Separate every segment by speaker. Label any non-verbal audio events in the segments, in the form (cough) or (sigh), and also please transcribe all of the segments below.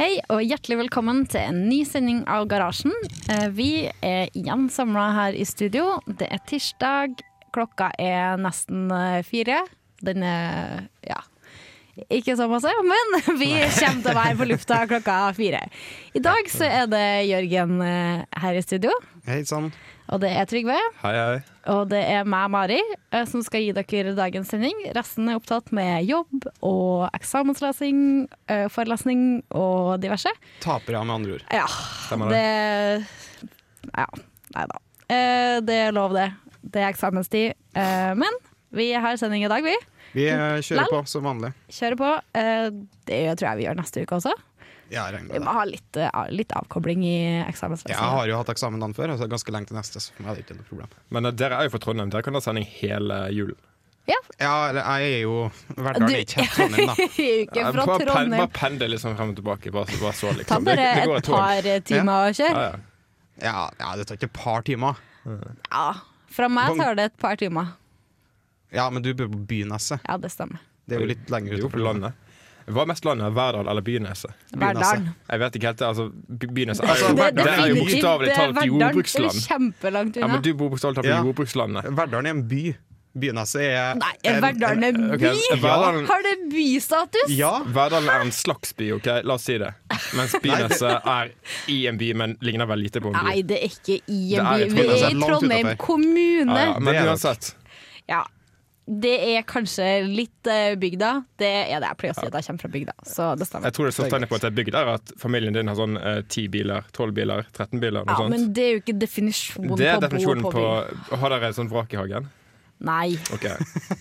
Speaker 1: Hei og hjertelig velkommen til en ny sending av Garasjen. Eh, Vi er igjen samla her i studio. Det er tirsdag, klokka er nesten eh, fire. Den er ja. Ikke så masse, men (laughs) vi kommer til å være på lufta klokka fire. I dag så er det Jørgen eh, her i studio,
Speaker 2: Hei sann.
Speaker 1: og det er Trygve.
Speaker 3: Hei, hei.
Speaker 1: Og det er meg, Mari, eh, som skal gi dere dagens sending. Resten er opptatt med jobb og eksamenslesing, eh, forelesning og diverse.
Speaker 2: Taper jeg med andre ord.
Speaker 1: Ja,
Speaker 3: Stemmer
Speaker 1: det Ja, nei da. Eh, Det er lov, det. Det er eksamenstid. Eh, Men vi har sending i dag, vi.
Speaker 2: Vi eh, kjører
Speaker 1: Lal.
Speaker 2: på som vanlig.
Speaker 1: Kjører på. Eh, Det tror jeg vi gjør neste uke også.
Speaker 2: Jeg regner
Speaker 1: Vi
Speaker 2: med
Speaker 1: må
Speaker 2: det.
Speaker 1: ha litt, eh, av- litt avkobling i eksamensfasen.
Speaker 2: Jeg har jo hatt eksamen dagen før, og så er det ganske lenge til neste. Så for meg er det ikke noe problem.
Speaker 3: Men eh, dere er jo fra Trondheim. Dere kan ha sending hele julen.
Speaker 1: Ja.
Speaker 2: Ja, eller jeg er jo Verdal
Speaker 1: Du-
Speaker 2: er ikke
Speaker 1: (laughs)
Speaker 2: helt Trondheim, da.
Speaker 1: Vi er jo
Speaker 3: Eh,
Speaker 1: ikke fra
Speaker 3: bare, pen, bare
Speaker 1: Trondheim.
Speaker 3: pendel liksom frem og tilbake. Bare, bare
Speaker 1: (laughs)
Speaker 3: så,
Speaker 1: Ta
Speaker 3: liksom.
Speaker 1: bare
Speaker 3: går
Speaker 1: et
Speaker 3: tog.
Speaker 1: par eh, timer å
Speaker 3: Ja,
Speaker 1: kjøre.
Speaker 3: ja.
Speaker 2: Ja, ja, det tar ikke et par timer.
Speaker 1: Ja. Fra meg tar det et par timer.
Speaker 2: Ja, men du bor på Byneset.
Speaker 1: Ja, det stemmer.
Speaker 2: Det er jo litt
Speaker 3: Det
Speaker 2: lenger
Speaker 3: er jo på
Speaker 2: utenfor landet.
Speaker 3: landet. Hva er mest landet? Verdal eller Byneset?
Speaker 1: Verdalen.
Speaker 3: Jeg vet ikke helt. det, Altså, By- Byneset er
Speaker 2: Altså,
Speaker 3: jo,
Speaker 2: det-
Speaker 3: det er jo
Speaker 2: definitivt,
Speaker 3: bokstavelig talt
Speaker 1: Verdalen.
Speaker 3: jordbruksland.
Speaker 1: Det er kjempelangt
Speaker 3: Ja,
Speaker 1: unna.
Speaker 3: men du bor bokstavelig talt på
Speaker 2: Ja.
Speaker 3: jordbrukslandet.
Speaker 2: Verdal er en by. Byneset er
Speaker 1: Nei, eh,
Speaker 2: en-
Speaker 1: Verdalen er by!
Speaker 3: Ok, Verdalen,
Speaker 1: Har det bystatus?
Speaker 2: Ja.
Speaker 3: Verdalen er en slags by, ok? La oss si det.
Speaker 2: (laughs)
Speaker 3: Mens Byneset er i en by, men ligner vel lite på en by.
Speaker 1: Nei, det er ikke i
Speaker 3: Det
Speaker 1: en
Speaker 3: er altså,
Speaker 1: by.
Speaker 3: i
Speaker 1: Vi er
Speaker 2: så
Speaker 3: Trondheim,
Speaker 2: det
Speaker 1: i
Speaker 2: er langt
Speaker 1: Trondheim
Speaker 2: utenfor.
Speaker 1: kommune.
Speaker 3: Ja, ja,
Speaker 2: Det er
Speaker 3: men
Speaker 2: nok.
Speaker 3: uansett.
Speaker 1: Ja. Det er kanskje litt eh, bygda. Det er det jeg pleier å si at jeg kommer fra bygda, så det stemmer.
Speaker 3: Jeg tror det står
Speaker 2: Det er
Speaker 3: tegnet på at det er bygd der at familien din har sånn ti biler, tolv biler, 13 biler.
Speaker 1: Ja,
Speaker 3: Noe
Speaker 1: men
Speaker 3: sånt.
Speaker 1: det er jo ikke definisjonen
Speaker 3: Det er
Speaker 1: på å
Speaker 3: definisjonen
Speaker 1: bo på
Speaker 3: på
Speaker 1: by.
Speaker 3: Har dere et sånt vrak i hagen?
Speaker 1: Nei.
Speaker 3: Ok.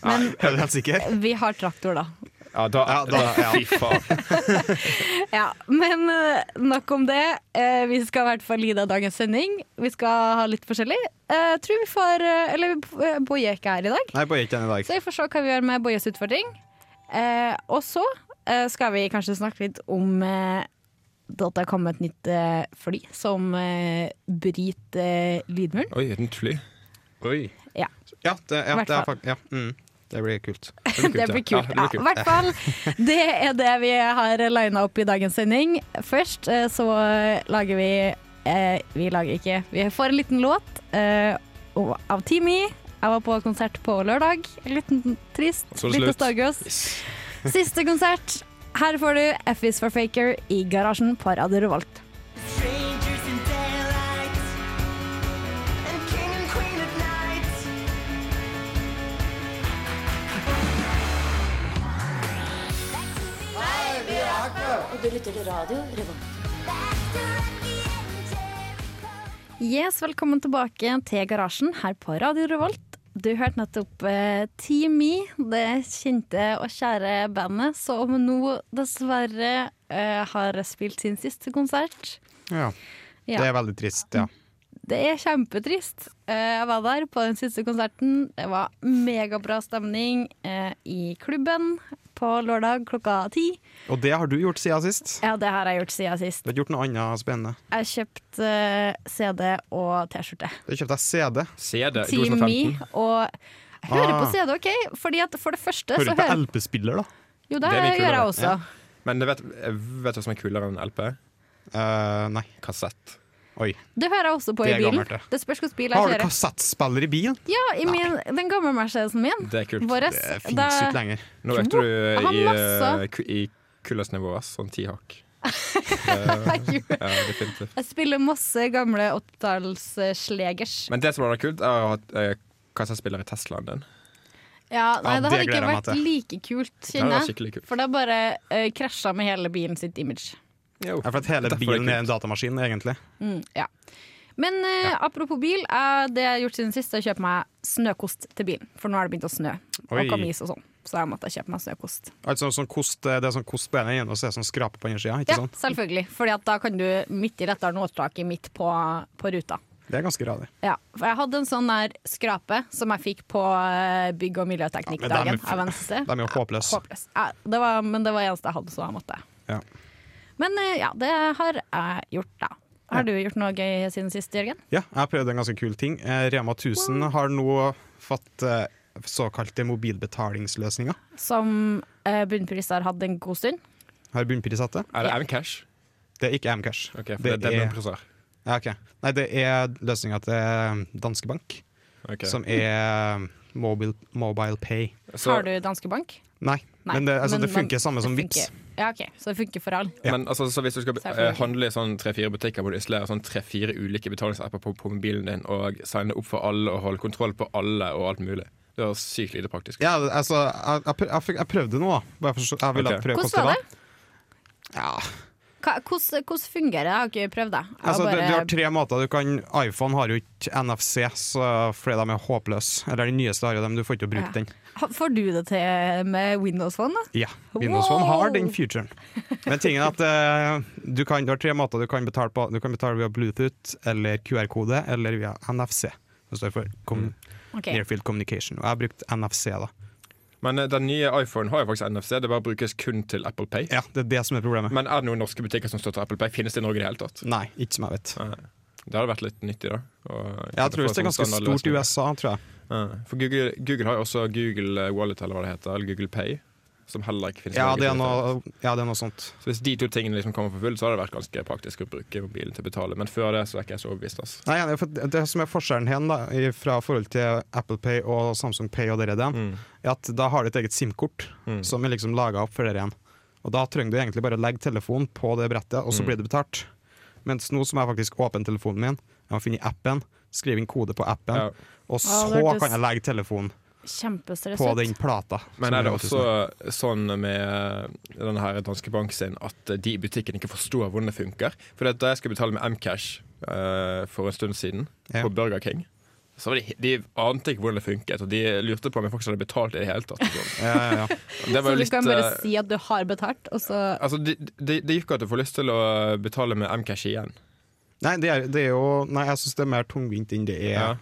Speaker 1: Men
Speaker 2: Er du helt sikker?
Speaker 1: vi har traktor, da.
Speaker 3: Ja, da,
Speaker 2: Ja, da-
Speaker 3: da,
Speaker 2: ja.
Speaker 3: Fy faen.
Speaker 1: Ja, men eh, nok om det. Eh, vi skal i hvert fall lide av dagens sending. Vi skal ha litt forskjellig. Eh, Jeg tror vi får eh, Eller eh, Boje er ikke her i dag,
Speaker 2: Nei, bare ikke den i dag.
Speaker 1: så vi får se hva vi gjør med Bojes utfordring. Eh, og så eh, skal vi kanskje snakke litt om eh, det at det har kommet et nytt eh, fly som eh, bryter eh, lydmuren.
Speaker 3: Oi, et nytt fly.
Speaker 2: Oi.
Speaker 1: Ja.
Speaker 2: Ja, det, ja,
Speaker 1: Hvert
Speaker 2: det er
Speaker 1: fall.
Speaker 2: fakt... Ja. Mm. Det blir kult.
Speaker 3: Det
Speaker 1: Det blir kult.
Speaker 3: Ja,
Speaker 1: Ja,
Speaker 3: det
Speaker 1: I
Speaker 3: blir kult.
Speaker 1: hvert fall. Det er det vi har lina opp i dagens sending. Først eh, så lager vi eh, Vi lager ikke. Vi får en liten låt eh, og- av Timi. Jeg var på konsert på lørdag. Litt trist.
Speaker 3: Så er det
Speaker 1: Litt
Speaker 3: slutt.
Speaker 1: Stargirls. Siste konsert. Her får du F is for Faker i garasjen på Radio Revolt.
Speaker 4: Strangers in daylight and king and queen at night.
Speaker 5: Du lytter til radio Revolt.
Speaker 1: Yes, velkommen tilbake til garasjen her på Radio Revolt. Du hørte nettopp eh, Team E, det kjente og kjære bandet, som nå dessverre eh, har spilt sin siste konsert.
Speaker 2: Ja.
Speaker 1: Ja,
Speaker 2: Det
Speaker 1: det,
Speaker 2: er veldig trist, ja.
Speaker 1: er kjempetrist. Eh, jeg var der på den siste konserten. Det var megabra stemning eh, i klubben på lørdag klokka ti.
Speaker 2: Og det har du gjort siden sist.
Speaker 1: Ja, det har jeg gjort siden sist.
Speaker 2: Du har ikke gjort noe annet spennende.
Speaker 1: Jeg kjøpte eh, CD og T-skjorte.
Speaker 2: Du kjøpte deg CD.
Speaker 3: CD i
Speaker 1: Team Me
Speaker 3: 2015.
Speaker 1: og jeg hører
Speaker 2: Ah.
Speaker 1: på CD, OK? Fordi at for det første så
Speaker 2: Hører du på
Speaker 1: hører
Speaker 2: LP-spiller, da?
Speaker 1: Jo, det,
Speaker 3: Det er mye
Speaker 1: gjør jeg
Speaker 3: kulere.
Speaker 1: også.
Speaker 3: Men vet, vet du hva som er kulere enn LP?
Speaker 2: Eh, nei.
Speaker 3: Kassett.
Speaker 2: Oi.
Speaker 1: Det hører jeg også på
Speaker 2: Det
Speaker 1: i
Speaker 2: er
Speaker 1: bilen.
Speaker 2: gammelt, det.
Speaker 1: Det spørs hvilken bil jeg
Speaker 2: Har du
Speaker 1: kjører.
Speaker 2: kassettspiller i bilen?
Speaker 1: Ja, i min, den gamle Mercedesen min.
Speaker 3: Det er kult.
Speaker 1: Vår.
Speaker 2: Det fins
Speaker 1: Da-
Speaker 2: Eh, ikke lenger.
Speaker 3: Nå økte du
Speaker 1: Jeg har
Speaker 3: i,
Speaker 1: masse.
Speaker 3: eh, ku- i kullesnivå, ass. Sånn ti hakk. Eh,
Speaker 1: (laughs) Jeg
Speaker 3: ja, definitivt.
Speaker 1: spiller masse gamle åttitallsslegers.
Speaker 3: Men det som hadde vært kult, er å ha eh, kassettspiller i Teslaen din.
Speaker 1: Ja, nei,
Speaker 2: Ja,
Speaker 1: det
Speaker 2: det
Speaker 1: hadde ikke
Speaker 2: gleder jeg meg
Speaker 1: vært like kult,
Speaker 3: Det hadde
Speaker 1: kjenner
Speaker 3: vært
Speaker 1: jeg.
Speaker 3: skikkelig kult.
Speaker 1: For det bare uh, krasja med hele bilen sitt image.
Speaker 3: Jo.
Speaker 2: Ja, for at hele
Speaker 3: Derfor er det
Speaker 2: bilen
Speaker 3: kult.
Speaker 2: er en datamaskin, egentlig.
Speaker 1: Mm, ja. Men eh, apropos bil, eh, det jeg har gjort siden sist, er å kjøpe meg snøkost til bilen. For nå har det begynt å snø.
Speaker 2: Oi.
Speaker 1: Og kamis og sånn. Så jeg måtte kjøpe meg snøkost.
Speaker 2: Altså sånn kost, Det er sånn kost på ene enden, og så er det sånn skrape på andre sida. Ikke
Speaker 1: Ja,
Speaker 2: sant?
Speaker 1: selvfølgelig. Fordi at da kan du midt i retteren åtaket midt på, på ruta.
Speaker 2: Det er ganske radig.
Speaker 1: Ja, for jeg hadde en sånn der skrape som jeg fikk på eh, bygg- og
Speaker 2: Ja, men dem er
Speaker 1: miljøteknikkdagen
Speaker 2: fy-
Speaker 1: av Venstre.
Speaker 2: De er jo håpløse.
Speaker 1: Håpløs. Ja, det var, men det var eneste jeg hadde, så jeg måtte.
Speaker 2: Ja.
Speaker 1: Men eh, ja, det har jeg gjort, da. Har du gjort noe gøy siden sist, Jørgen?
Speaker 2: Ja, jeg har prøvd en ganske kul ting. Eh, Rema 1000 har nå fått eh, såkalte mobilbetalingsløsninger.
Speaker 1: Som eh, bunnpris har hatt en god stund.
Speaker 2: Har bunnpris hatt det?
Speaker 3: Er det M-cash?
Speaker 2: Det er ikke Amcash.
Speaker 3: Ok, for det, er Deadman Prosar.
Speaker 2: ja, ok. Nei, det er løsninga til Danske Bank,
Speaker 3: Ok.
Speaker 2: som er mobile, mobile Pay.
Speaker 3: Så-
Speaker 1: Har du danske bank?
Speaker 2: Nei,
Speaker 1: Nei,
Speaker 2: men det, altså,
Speaker 1: men
Speaker 2: det funker
Speaker 1: man-
Speaker 2: samme som
Speaker 1: det
Speaker 2: Vipps.
Speaker 1: funker- Ja, ok, Så det funker for alle?
Speaker 2: Ja.
Speaker 3: Men altså, så hvis du skal
Speaker 1: Selvfølgelig.
Speaker 3: eh, handle i sånn tre-fire butikker, må du installere sånn tre-fire ulike betalingsapper på, på mobilen din og signe opp for alle og holde kontroll på alle og alt mulig. Det høres sykt lite praktisk ut.
Speaker 2: Ja, altså, jeg, jeg, prøv- jeg, fikk- jeg prøvde noe, da. Bare for, så- jeg ville
Speaker 3: Ok.
Speaker 2: prøve
Speaker 1: Hvordan var det?
Speaker 2: Ja,
Speaker 1: Hva- Hvordan hvordan fungerer det? Jeg har ikke prøvd det. Jeg har
Speaker 2: altså, du,
Speaker 1: bare-
Speaker 2: du har tre måter. Du kan, iPhone har jo ikke NFC, så fordi de er håpløse. Eller de nyeste har jo dem, du får ikke å bruke
Speaker 1: Ja.
Speaker 2: den.
Speaker 1: Ha- Får du det til med Windows Phone, da?
Speaker 2: Ja, Windows Phone
Speaker 1: Wow!
Speaker 2: har den featuren. Men tingen er at eh, du, kan, du har tre måter du kan betale på. Du kan betale via Bluetooth eller QR-kode eller via NFC. Det står for com
Speaker 1: Ok.
Speaker 2: Nearfield Communication. Og jeg har brukt NFC, da.
Speaker 3: Men eh, den nye iPhone har jo faktisk NFC. Det bare brukes kun til Apple Pay.
Speaker 2: Ja, Det er det som er problemet.
Speaker 3: Men er det noen norske butikker som støtter Apple Pay? Finnes det i Norge i det hele tatt?
Speaker 2: Nei, ikke som jeg vet.
Speaker 3: Nei. Det hadde vært litt nyttig, da.
Speaker 2: Jeg tror det sånn
Speaker 3: sånn
Speaker 2: er ganske stort i USA, tror jeg.
Speaker 3: For Google, Google har jo også Google Wallet, eller hva det heter, eller Google Pay, som heller ikke finnes i
Speaker 2: Ja,
Speaker 3: Norge,
Speaker 2: det er
Speaker 3: så vidt jeg vet.
Speaker 2: noe, ja, det er noe sånt.
Speaker 3: Så Hvis de to tingene liksom kommer for fullt, så hadde det vært ganske praktisk å bruke mobilen til å betale. Men før det så er ikke jeg så overbevist. Altså.
Speaker 2: Nei, det, er for det som er forskjellen her da, i- fra forhold til Apple Pay og Samsung Pay, og dere der, er at da har du et eget SIM-kort
Speaker 3: Mm.
Speaker 2: som er liksom laga opp for dere igjen. Og Da trenger du egentlig bare å legge telefonen på det brettet,
Speaker 3: Mm.
Speaker 2: og så blir det betalt. Mens nå som jeg faktisk åpner telefonen min, jeg må finne appen, skrive inn kode på appen,
Speaker 3: Ja.
Speaker 2: og så
Speaker 1: det hørtes-
Speaker 2: kan jeg legge telefonen
Speaker 1: Kjempestress
Speaker 2: på
Speaker 1: ut.
Speaker 2: den plata.
Speaker 3: Men
Speaker 2: som
Speaker 3: er det
Speaker 2: jeg
Speaker 3: også
Speaker 2: har
Speaker 3: sånn med denne her danske bank sin at eh, de i butikken ikke forstår hvordan det funker? For det at da jeg skulle betale med Mcash eh, for en stund siden,
Speaker 2: Ja.
Speaker 3: på Burger King, så var de, de ante ikke hvordan det funket. Og de lurte på om jeg faktisk hadde betalt i det
Speaker 2: (laughs)
Speaker 3: hele tatt. og sånn.
Speaker 2: tusen- Ja,
Speaker 3: (laughs)
Speaker 2: ja, ja.
Speaker 3: Det
Speaker 1: Så
Speaker 3: var
Speaker 1: du
Speaker 3: jo litt
Speaker 1: kan bare
Speaker 3: eh,
Speaker 1: si at du har betalt, og så
Speaker 3: Altså, det de, de gikk jo at du får lyst til å betale med Mcash igjen.
Speaker 2: Nei, det er, det er jo Nei, jeg syns det er mer tungvint enn det er.
Speaker 3: Ja.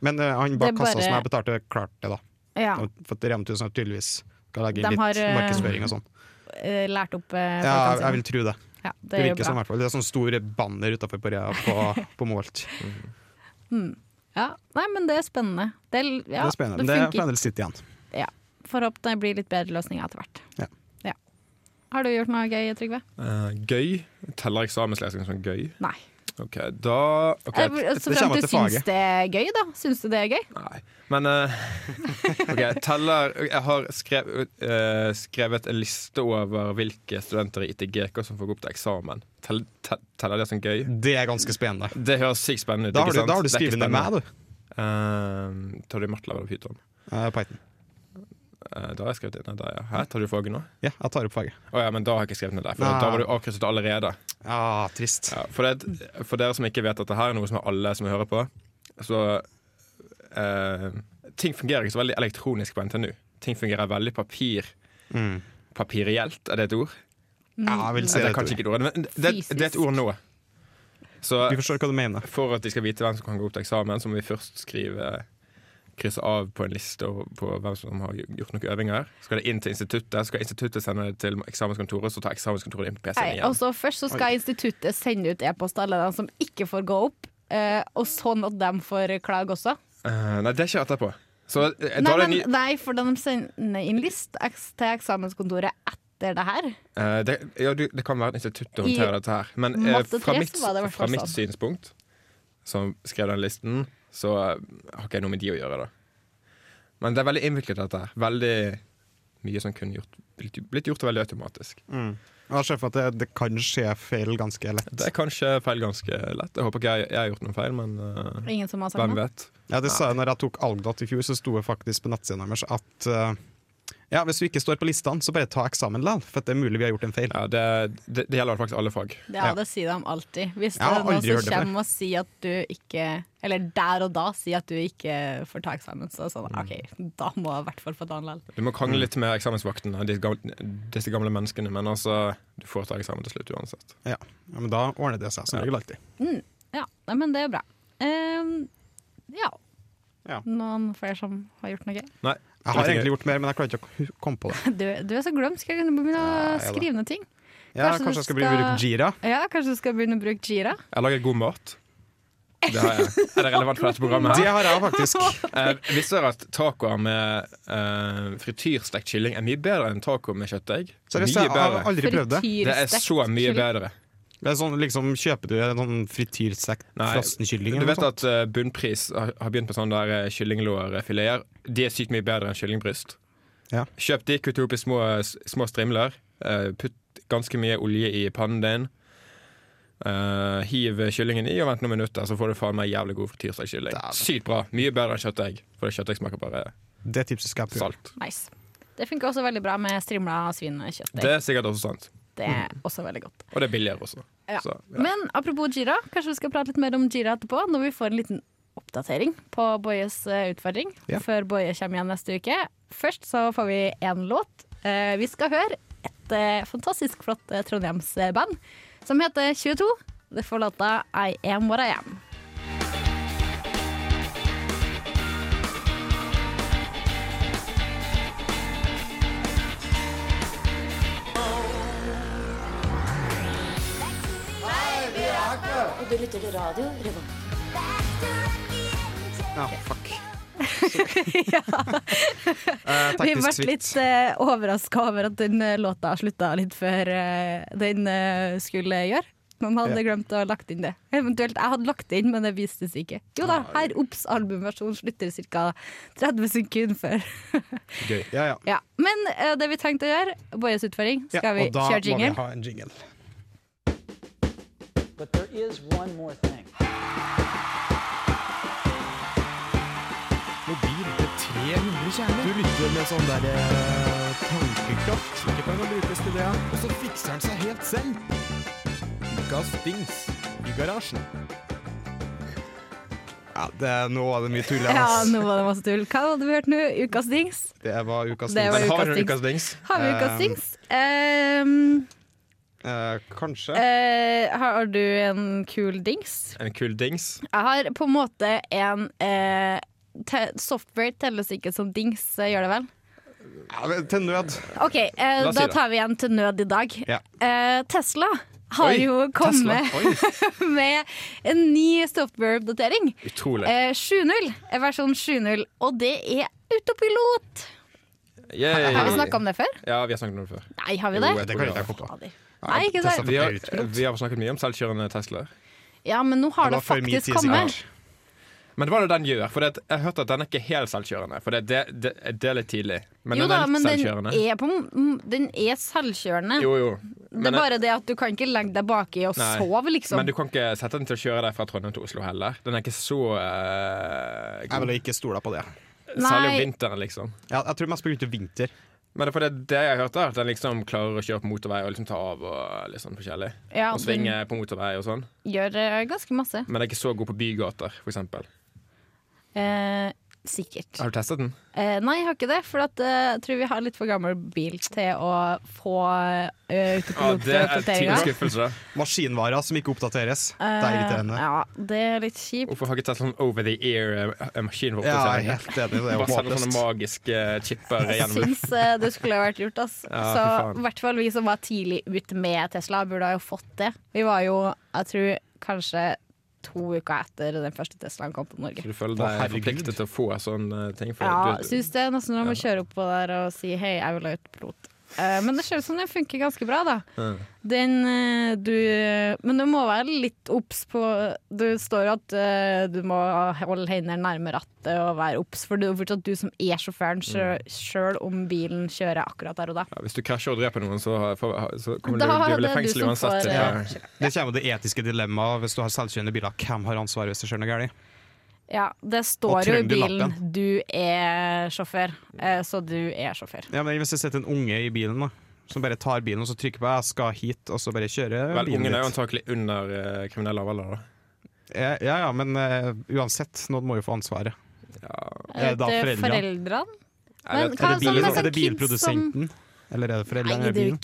Speaker 2: Men eh, han bak
Speaker 1: Det er
Speaker 2: kassa
Speaker 1: bare-
Speaker 2: som jeg betalte, klarte det, da.
Speaker 1: ja,
Speaker 2: Og For at Rema 1000 har tydeligvis skal legge
Speaker 1: De
Speaker 2: inn litt
Speaker 1: har, eh,
Speaker 2: markedsføring og sånn.
Speaker 1: eh, lært opp eh,
Speaker 2: Ja,
Speaker 1: folkene
Speaker 2: jeg,
Speaker 1: sine.
Speaker 2: jeg vil tro det.
Speaker 1: Ja,
Speaker 2: Det
Speaker 1: det er jo
Speaker 2: virker sånn i
Speaker 1: bra.
Speaker 2: hvert fall. Det er sånn store banner utafor på, Rea-
Speaker 1: (laughs)
Speaker 2: på, på Moholt.
Speaker 1: Mm. Ja. Nei, men det er spennende. Det, er- ja,
Speaker 2: det er spennende. Det, er
Speaker 1: funker.
Speaker 2: fremdeles sitt igjen.
Speaker 1: Ja. Får håpe det blir litt bedre løsninger etter hvert.
Speaker 2: Ja.
Speaker 1: Ja. Har du gjort noe gøy, Trygve?
Speaker 3: Eh, gøy? Teller eksamenslesing som gøy?
Speaker 1: Nei.
Speaker 3: OK, da ok,
Speaker 1: Eh, Så frem
Speaker 2: det kommer
Speaker 1: til
Speaker 2: til
Speaker 1: syns
Speaker 2: faget.
Speaker 1: det er gøy, da. Syns du det er gøy?
Speaker 3: Nei. Men eh, (laughs) ok, jeg teller Jeg har skrev, eh, skrevet en liste over hvilke studenter i ITGK som får gå opp til eksamen. Tell, te, teller det som gøy?
Speaker 2: Det er ganske spennende.
Speaker 3: Det høres sykt spennende ut.
Speaker 2: Da har
Speaker 3: ikke
Speaker 2: du,
Speaker 3: sant?
Speaker 2: da har du
Speaker 3: Det er ikke
Speaker 2: skrevet ned meg,
Speaker 3: spennende.
Speaker 2: du.
Speaker 3: Eh, tar du matlav eller pyton?
Speaker 2: Eh, Python.
Speaker 3: Eh, da har jeg skrevet inn der, ja. Hæ, tar du faget nå? Å
Speaker 2: Ja, jeg tar opp faget.
Speaker 3: ja, men da har jeg ikke skrevet ned der, for
Speaker 2: Nei.
Speaker 3: da var du avkrysset allerede.
Speaker 2: Ah, trist.
Speaker 3: Ja, for, det, for dere som ikke vet at det her er noe som er alle som hører på, så eh, Ting fungerer ikke så veldig elektronisk på NTNU. Ting fungerer veldig papir.
Speaker 2: Mm.
Speaker 3: Papirielt, er det et ord?
Speaker 1: Mm.
Speaker 2: Ja, jeg vil si
Speaker 3: det
Speaker 2: det.
Speaker 3: er kanskje
Speaker 2: Tore.
Speaker 3: ikke et ord, men det, det er et ord nå. Så
Speaker 2: Vi forstår hva du mener.
Speaker 3: for at de skal vite hvem som kan gå opp til eksamen, så må vi først skrive krysse av på en liste over- på hvem som har gjort noen øvinger. Så skal det inn til instituttet, så skal instituttet sende det til eksamenskontoret, så tar eksamenskontoret inn på PC-en
Speaker 1: Nei,
Speaker 3: igjen.
Speaker 1: altså Først så skal instituttet sende ut e-post til alle de som ikke får gå opp, eh, og sånn at de får klage også.
Speaker 3: Eh, nei, det skjer etterpå. Så eh, da
Speaker 1: Nei,
Speaker 3: er det
Speaker 1: men,
Speaker 3: ny...
Speaker 1: nei, for de sender inn list eks- til eksamenskontoret etter det her.
Speaker 3: Eh, det, ja, du, det kan være at instituttet håndterer dette her. Men eh,
Speaker 1: matte
Speaker 3: fra,
Speaker 1: tre
Speaker 3: mitt,
Speaker 1: så var det i hvert
Speaker 3: fra
Speaker 1: fall
Speaker 3: mitt
Speaker 1: sånn.
Speaker 3: synspunkt, som skrev den listen, så eh, har ikke jeg noe med de å gjøre, da. Men det er veldig innviklet, dette her. Veldig mye som kunne gjort, blitt, blitt gjort veldig automatisk.
Speaker 2: Jeg har sett for at det, det kan skje feil ganske lett.
Speaker 3: Det er kanskje feil ganske lett. Jeg håper ikke jeg, jeg har gjort noen feil, men eh,
Speaker 1: Ingen som har sagt
Speaker 3: hvem
Speaker 1: noe?
Speaker 3: vet?
Speaker 2: Ja, det sa jeg når jeg tok Algdot i fjor, så sto det faktisk på nettsiden deres at eh, ja, hvis du ikke står på listene, så bare ta eksamen likevel, for at det er mulig vi har gjort en feil.
Speaker 3: Ja, det, det, det gjelder faktisk alle fag.
Speaker 1: Ja, det sier de alltid. Hvis det
Speaker 2: Jeg har
Speaker 1: er noen
Speaker 2: aldri hørt
Speaker 1: som
Speaker 2: det før.
Speaker 1: kommer og sier at du ikke Eller der og da sier at du ikke får ta eksamen, så er det sånn
Speaker 2: Mm.
Speaker 1: OK, da må jeg i hvert fall få ta den likevel.
Speaker 3: Du må krangle litt med eksamensvaktene, disse gamle, disse gamle menneskene, men altså, du får ta eksamen til slutt uansett.
Speaker 2: Ja. ja, men da ordner det seg som regel alltid.
Speaker 1: Mm. Ja, nei, men det er bra. Ehm, ja.
Speaker 2: Ja.
Speaker 1: Noen flere som har gjort noe gøy?
Speaker 3: Nei.
Speaker 2: Jeg har egentlig gjort mer, men jeg klarer ikke å hu- komme på
Speaker 1: (laughs)
Speaker 2: det.
Speaker 1: Du, du er så glemsk. Jeg kunne begynne å
Speaker 2: Ja, ja da.
Speaker 1: skrive ned ting.
Speaker 2: Ja,
Speaker 1: Kanskje du
Speaker 2: kanskje, jeg skal bli
Speaker 1: skal-
Speaker 2: bruke (laughs) Jira?
Speaker 1: Ja, Kanskje du skal begynne å bruke Jira?
Speaker 3: Jeg lager god mat. Det har jeg. Er det relevant for dette programmet?
Speaker 2: Det
Speaker 3: her?
Speaker 2: har jeg faktisk.
Speaker 1: (laughs)
Speaker 3: Eh, visste dere at tacoer med eh, frityrstekt kylling er mye bedre enn taco med kjøttdeig?
Speaker 2: Seriøst,
Speaker 3: Mye
Speaker 2: jeg har
Speaker 3: bedre.
Speaker 2: aldri prøvd det.
Speaker 3: Det er så mye bedre.
Speaker 2: Det er sånn, liksom, kjøper du en sånn frityrsekk
Speaker 3: Nei,
Speaker 2: frossenkylling?
Speaker 3: Du
Speaker 2: eller
Speaker 3: vet
Speaker 2: noe
Speaker 3: at eh, bunnpris har har begynt på sånne der eh, kyllinglårfileter. De er sykt mye bedre enn kyllingbryst.
Speaker 2: Ja.
Speaker 3: Kjøp de, kutt opp i små, små strimler. eh, putt ganske mye olje i pannen din. eh, hiv kyllingen i og vent noen minutter, så får du faen meg jævlig god frityrsteikkylling.
Speaker 2: Dæven.
Speaker 3: Sykt bra. Mye bedre enn kjøttdeig, for kjøttdeig smaker bare
Speaker 2: sånt? Det tipset skal jeg prøve.
Speaker 3: salt.
Speaker 1: Nice. Det funker også veldig bra med strimla svinekjøtt.
Speaker 3: Det er sikkert også sant.
Speaker 1: Det er
Speaker 2: Mm.
Speaker 1: også veldig godt.
Speaker 3: Og det er billigere også.
Speaker 1: Ja.
Speaker 3: Så, ja.
Speaker 1: Men apropos Jira, kanskje vi skal prate litt mer om Jira etterpå, når vi får en liten oppdatering på Boyes eh, utfordring,
Speaker 2: Ja.
Speaker 1: før Boje kommer igjen neste uke. Først så får vi én låt. Eh, Vi skal høre et eh, fantastisk flott eh, trondheimsband som heter 22. Det får låta I Am What I Am.
Speaker 5: Og du lytter til Radio Revolt.
Speaker 2: Ja, fuck. Eh,
Speaker 1: Vi har
Speaker 2: Taktisk
Speaker 1: vært litt uh,
Speaker 2: svikt.
Speaker 1: overraska over at den eh, låta slutta litt før eh, den eh, skulle gjøre. Noen hadde glemt å ha lagt inn det. Eventuelt jeg hadde lagt det inn, men det vistes ikke. Jo da, her Ops albumversjon slutter ca. 30 sekunder før. (laughs) eh,
Speaker 3: Gøy.
Speaker 2: Ja, ja.
Speaker 1: ja. Men eh, det vi tenkte å gjøre, Bojes utfordring,
Speaker 2: Ja,
Speaker 1: skal vi
Speaker 2: og da
Speaker 1: kjøre jingle?
Speaker 2: må vi ha en jingle.
Speaker 6: But there is one more thing.
Speaker 2: sånn eh, Ja, det, nå var det mye tull.
Speaker 1: Ja,
Speaker 2: ass.
Speaker 1: nå var det masse tull. Hva hadde vi hørt nå? Ukas dings?
Speaker 2: Det var ukas
Speaker 1: Det var
Speaker 2: tips.
Speaker 3: Men har
Speaker 1: ukas
Speaker 3: du noen
Speaker 1: dings.
Speaker 3: ukas dings?
Speaker 1: Har vi ukas
Speaker 2: Um,
Speaker 1: dings? Ehm,
Speaker 2: Eh, kanskje.
Speaker 1: eh, har du en kul dings?
Speaker 3: En kul dings?
Speaker 1: Jeg har på en måte en eh, te Software telles ikke som dings, eh, gjør det vel?
Speaker 2: Ja, men til nød.
Speaker 1: OK, eh,
Speaker 3: La oss si
Speaker 1: da
Speaker 3: det.
Speaker 1: tar vi en til nød i dag.
Speaker 2: Ja.
Speaker 1: Eh, Tesla har
Speaker 3: Oi,
Speaker 1: jo kommet (laughs)
Speaker 3: Tesla. Oi,
Speaker 1: med en ny software-oppdatering.
Speaker 3: utrolig.
Speaker 1: Eh, 7.0, eh, versjon 7.0, og det er autopilot.
Speaker 3: Yay.
Speaker 1: Har vi snakka om det før?
Speaker 3: Ja, vi har snakket om det før.
Speaker 1: Nei, har vi
Speaker 3: Jo,
Speaker 1: det?
Speaker 3: jeg
Speaker 2: Det kan jeg ikke komme på.
Speaker 1: Fader. Nei, ikke
Speaker 2: Tesla
Speaker 1: sant?
Speaker 2: for
Speaker 3: Vi har,
Speaker 2: høyt.
Speaker 3: vi har snakket mye om selvkjørende Teslaer.
Speaker 1: Ja, men nå har
Speaker 2: Det
Speaker 1: det,
Speaker 2: var før min tid,
Speaker 1: faktisk kommet.
Speaker 2: sikkert.
Speaker 3: Men det var det den gjør. For det, at- jeg har hørt at den er ikke helt selvkjørende. For det, det, det, det er litt tidlig. Men
Speaker 1: jo
Speaker 3: den
Speaker 1: da,
Speaker 3: er litt
Speaker 1: men den
Speaker 3: selvkjørende.
Speaker 1: er, på, den er selvkjørende.
Speaker 3: Jo, jo.
Speaker 1: det
Speaker 3: Men,
Speaker 1: er bare det at du kan ikke legge deg baki og
Speaker 3: Nei.
Speaker 1: sove, liksom.
Speaker 3: men du kan ikke sette den til å kjøre deg fra Trondheim til Oslo heller. Den er ikke så eh,
Speaker 2: Jeg
Speaker 3: god.
Speaker 2: ville ikke stola på det.
Speaker 3: Særlig om
Speaker 1: Nei.
Speaker 3: vinteren, liksom.
Speaker 2: Ja, jeg tror mest på grunn av vinter.
Speaker 3: Men det, er for det, det jeg har hørt, er at den liksom klarer å kjøre på motorvei og liksom ta av og litt sånn forskjellig.
Speaker 1: Ja,
Speaker 3: og
Speaker 1: den-
Speaker 3: svinge på motorvei og sånn.
Speaker 1: Gjør eh, ganske masse.
Speaker 3: Men den er ikke så god på bygater, for eksempel.
Speaker 1: Eh, sikkert.
Speaker 3: Har du testet den?
Speaker 1: Eh, nei, jeg har ikke det, for at, eh, jeg tror vi har litt for gammel bil til å få eh,
Speaker 3: Ja, det er
Speaker 1: autopilotoppdateringa.
Speaker 3: tidlig skuffelse. da.
Speaker 2: Maskinvarer som ikke oppdateres. det er irriterende.
Speaker 1: Eh, ja, det er litt kjipt.
Speaker 3: Hvorfor har ikke Tesla sånn over the eh, ear-maskin?
Speaker 2: Ja, jeg er helt enig. Det er jo
Speaker 3: Bare sender sånne
Speaker 2: håpløst.
Speaker 3: magiske
Speaker 1: (laughs)
Speaker 3: chipper
Speaker 1: Jeg
Speaker 3: gjennom
Speaker 1: syns eh, det skulle ha vært gjort. Ass.
Speaker 3: (laughs) Ja,
Speaker 1: Så
Speaker 3: fy faen.
Speaker 1: i hvert fall vi som var tidlig ute med Tesla, burde ha jo fått det. Vi var jo, jeg tror, kanskje to uker etter den første Teslaen kom til Norge.
Speaker 3: Du føler
Speaker 2: Å,
Speaker 3: deg
Speaker 2: herregud.
Speaker 3: forpliktet til å få sånne ting. For
Speaker 1: Ja,
Speaker 3: du,
Speaker 1: syns det. Nesten når man må kjøre opp på der og si 'hei, jeg vil ha ut pilot'. Eh, men det ser ut som den funker ganske bra, da.
Speaker 3: Mm.
Speaker 1: Den eh, du Men du må være litt obs på Du står jo at eh, du må holde hendene nærme rattet og være obs, for det er jo fortsatt du som er sjåføren,
Speaker 2: Mm.
Speaker 1: sjø- sjøl om bilen kjører akkurat der og da.
Speaker 3: ja, hvis du krasjer og dreper noen, så, har- får- så kommer
Speaker 1: Da
Speaker 3: du,
Speaker 1: er
Speaker 3: du vil i
Speaker 1: det du
Speaker 3: fengsel
Speaker 1: som
Speaker 3: uansett. eh,
Speaker 1: får,
Speaker 3: Ja.
Speaker 2: Det kommer jo det etiske dilemmaet hvis du har selvkjørende biler. Hvem har ansvaret hvis det skjer noe galt?
Speaker 1: Ja, det står
Speaker 2: Og
Speaker 1: jo i
Speaker 2: trenger du
Speaker 1: bilen
Speaker 2: lappen?
Speaker 1: du er sjåfør, eh, så du er sjåfør.
Speaker 2: Ja, men hvis det sitter en unge i bilen da som bare tar bilen og så trykker på 'jeg skal hit', og så bare kjører
Speaker 3: Vel,
Speaker 2: bilen
Speaker 3: ungen er jo
Speaker 2: dit.
Speaker 3: antakelig under eh, kriminell lavalder, da.
Speaker 2: Ja, ja, ja, men eh, uansett, noen må jo få ansvaret. Er det da
Speaker 1: Eh,
Speaker 2: foreldrene?
Speaker 1: foreldrene? Men
Speaker 3: Jeg vet-
Speaker 1: hva
Speaker 2: Er det,
Speaker 1: sånn
Speaker 2: bilen,
Speaker 1: med sånn
Speaker 2: er det
Speaker 1: kids som-
Speaker 2: bilprodusenten? Eller er det
Speaker 1: Nei, det
Speaker 2: foreldrene? eller
Speaker 1: er jo
Speaker 2: bilen?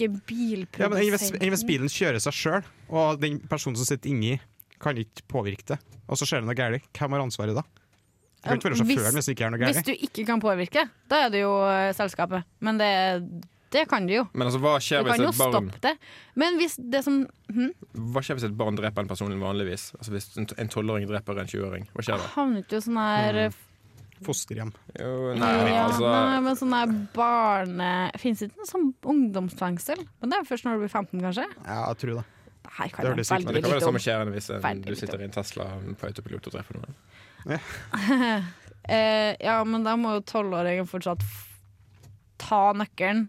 Speaker 1: ikke
Speaker 2: Ja, men hvis,
Speaker 1: bilprodusenten.
Speaker 2: hvis bilen kjører seg sjøl, og den personen som sitter inni, kan ikke påvirke det, og så skjer det noe galt, hvem har ansvaret da? Du kan ikke være
Speaker 1: Ja, hvis-
Speaker 2: sjåføren hvis det ikke er noe
Speaker 1: Hvis
Speaker 2: galt.
Speaker 1: du ikke kan påvirke, da er det jo eh, selskapet. Men det, det kan du jo.
Speaker 3: Men altså, hva
Speaker 1: Du
Speaker 3: skjer,
Speaker 1: kan
Speaker 3: hvis
Speaker 1: jo
Speaker 3: et barn,
Speaker 1: stoppe det. Men hvis det som hm,
Speaker 3: hva skjer hvis et barn dreper en person vanligvis? Altså Hvis en en tolvåring dreper en 20-åring, hva skjer da?
Speaker 1: Havnet jo sånn her eh,
Speaker 2: Fosterhjem.
Speaker 3: Jo,
Speaker 1: ja,
Speaker 3: Mm. nei, altså,
Speaker 1: nei, men sånn her barne Fins ikke noe sånn ungdomsfengsel? Men det er jo først når du blir 15, kanskje?
Speaker 2: Ja, jeg tror det.
Speaker 1: Det her kan
Speaker 2: Det
Speaker 1: jeg
Speaker 2: høres riktig
Speaker 1: veldig
Speaker 2: ut,
Speaker 3: Men det kan være
Speaker 1: lite
Speaker 3: det
Speaker 1: om.
Speaker 3: samme skjer enn hvis en,
Speaker 1: Veldig
Speaker 3: du
Speaker 1: lite
Speaker 3: sitter i en Tesla på autopilot og treffer noen.
Speaker 1: Eh, ja, men da må jo tolvåringen fortsatt f- ta nøkkelen,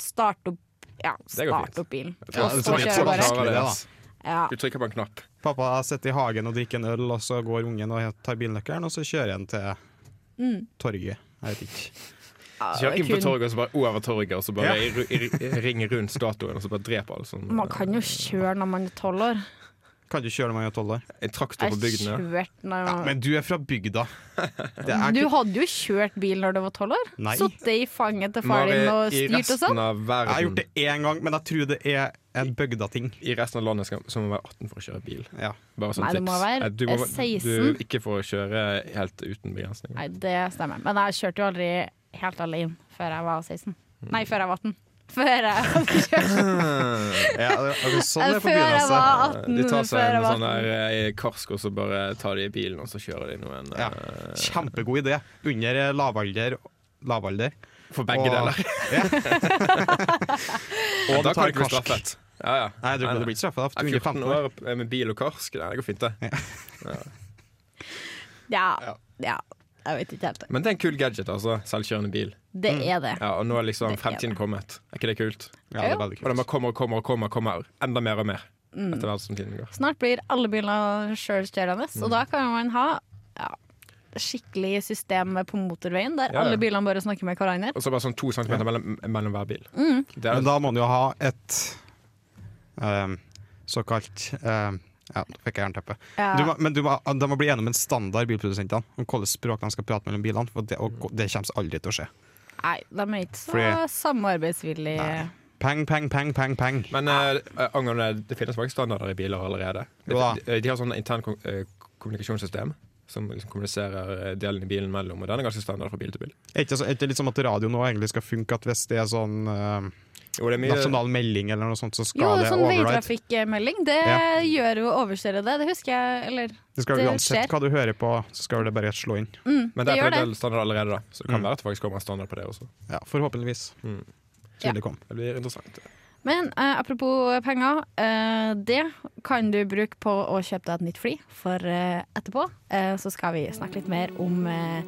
Speaker 1: starte opp Ja,
Speaker 3: Det går fint.
Speaker 1: starte opp bilen.
Speaker 2: Ja,
Speaker 1: Og
Speaker 2: det
Speaker 1: så
Speaker 2: tror jeg-
Speaker 3: sånn
Speaker 1: kjøre
Speaker 2: tror jeg-
Speaker 1: bare.
Speaker 2: vanskelig det, da.
Speaker 1: Ja.
Speaker 3: Du trykker på en knapp.
Speaker 2: Pappa jeg sitter i hagen og drikker en øl, og så går ungen og tar bilnøkkelen, og så kjører han til
Speaker 1: Mm.
Speaker 2: torget. Jeg vet ikke.
Speaker 1: Ja,
Speaker 3: Så kjører inn på
Speaker 1: kun-
Speaker 3: torget og så bare over torget og så bare i ru- i ri- ringer rundt statuen og så bare dreper alle sånn.
Speaker 1: Man kan jo kjøre når man er tolv år.
Speaker 2: Kan du kjøre når man er tolv år?
Speaker 3: En traktor
Speaker 1: Jeg
Speaker 3: på bygdene.
Speaker 1: kjørte når jeg var-
Speaker 2: Men du er fra bygda. (laughs) Det er
Speaker 1: Du
Speaker 2: ikke
Speaker 1: hadde jo kjørt bil når du var tolv år.
Speaker 2: Nei.
Speaker 1: Sittet i fanget til far din og
Speaker 3: i
Speaker 1: styrt og
Speaker 3: resten
Speaker 1: sånn.
Speaker 3: av
Speaker 2: Jeg har gjort
Speaker 3: verden,
Speaker 2: det én gang, men jeg tror det er en bygdating.
Speaker 3: i resten av landet skal, så må man være 18 for å kjøre bil.
Speaker 2: Ja.
Speaker 3: Bare sånn
Speaker 1: Nei, du
Speaker 3: tips.
Speaker 1: må være
Speaker 3: Eh, du må-
Speaker 1: 16.
Speaker 3: Du ikke får kjøre helt uten begrensninger.
Speaker 1: Nei, det stemmer. Men jeg kjørte jo aldri helt alene før jeg var 16.
Speaker 3: Mm.
Speaker 1: Nei, før jeg var 18. Før jeg,
Speaker 3: (laughs)
Speaker 2: Ja, det- det er sånn det er på
Speaker 1: før jeg
Speaker 2: begynnelsen.
Speaker 1: var 18.
Speaker 3: altså. Eh, De
Speaker 1: (laughs)
Speaker 3: tar
Speaker 1: før
Speaker 3: seg
Speaker 1: jeg
Speaker 3: en
Speaker 1: var
Speaker 3: sånn
Speaker 1: 18.
Speaker 3: der eh, karsk, og så bare tar de bilen, og så kjører de noen
Speaker 2: Ja.
Speaker 3: eh,
Speaker 2: Kjempegod idé. Under eh, lavalder Lavalder.
Speaker 3: For begge deler.
Speaker 2: Ja. og du
Speaker 3: (laughs) Da kan
Speaker 2: tar
Speaker 3: du ikke bli
Speaker 2: karsk.
Speaker 3: straffet. Ja, ja.
Speaker 2: (laughs) Nei, du, du blir ikke straffa. Du er
Speaker 3: Nei,
Speaker 2: under
Speaker 3: 14
Speaker 2: 15 år.
Speaker 3: år eh, med bil og karsk, Nei, det går fint, det.
Speaker 1: Ja. ja. Jeg vet ikke helt.
Speaker 3: Men det er en kul gadget, altså. Selvkjørende bil.
Speaker 1: Det er det.
Speaker 3: Ja, og nå er liksom
Speaker 1: Det er
Speaker 3: fremtiden
Speaker 1: det.
Speaker 3: kommet. Er ikke det kult?
Speaker 2: Ja, det er veldig
Speaker 3: Og den
Speaker 2: kult.
Speaker 3: bare kommer og kommer og kommer, kommer. Enda mer og mer.
Speaker 1: Mm.
Speaker 3: Etter hvert som tiden går.
Speaker 1: Snart blir alle biler sjølstjørende,
Speaker 3: Mm.
Speaker 1: og da kan man ha ja, skikkelig system på motorveien der
Speaker 3: Ja, ja.
Speaker 1: alle bilene bare snakker med hverandre.
Speaker 3: Og så bare sånn to centimeter mellom, mellom hver bil.
Speaker 1: Mm.
Speaker 3: Det
Speaker 2: Men
Speaker 3: er,
Speaker 2: da må du jo ha et ehm, såkalt ehm, Ja, nå fikk jeg jernteppe.
Speaker 1: Ja.
Speaker 2: Du må, men du må, de må bli enige om en standard bilprodusentene om hvilket språk de skal prate mellom bilene. For det, og, det kommer aldri til å skje.
Speaker 1: Nei, de er ikke så
Speaker 2: Fordi-
Speaker 1: samarbeidsvillige.
Speaker 2: Peng, peng, peng, peng, peng.
Speaker 3: men eh, angående det finnes mange standarder i biler allerede. De,
Speaker 2: Jo da.
Speaker 3: de, de har sånn intern kom, eh, kommunikasjonssystem som liksom kommuniserer eh, delen i bilen mellom, og den er ganske standard fra bil til bil.
Speaker 2: Er ikke, så, er ikke litt som at radio nå egentlig skal funke, at hvis det er sånn ehm,
Speaker 3: Jo, det er mye,
Speaker 2: nasjonal melding eller noe sånt, så skal
Speaker 1: Jo,
Speaker 2: det
Speaker 1: sånn
Speaker 2: override?
Speaker 1: veitrafikkmelding, det
Speaker 2: Ja.
Speaker 1: gjør jo overstyret det. Det husker jeg, eller
Speaker 2: Det skal
Speaker 1: det skjer.
Speaker 2: Uansett hva du hører på, så skal det bare slå inn.
Speaker 3: men
Speaker 1: mm, det
Speaker 3: det er
Speaker 1: gjør
Speaker 3: en
Speaker 1: det.
Speaker 3: del standard allerede, da. Så det kan
Speaker 2: Mm.
Speaker 3: være at det faktisk kommer en standard på det også.
Speaker 2: Ja, forhåpentligvis.
Speaker 3: Mm.
Speaker 2: Så
Speaker 1: Ja.
Speaker 2: vil det komme.
Speaker 3: Det blir interessant.
Speaker 1: Men eh, apropos penger, eh, det kan du bruke på å kjøpe deg et nytt fly. For eh, etterpå eh, så skal vi snakke litt mer om eh,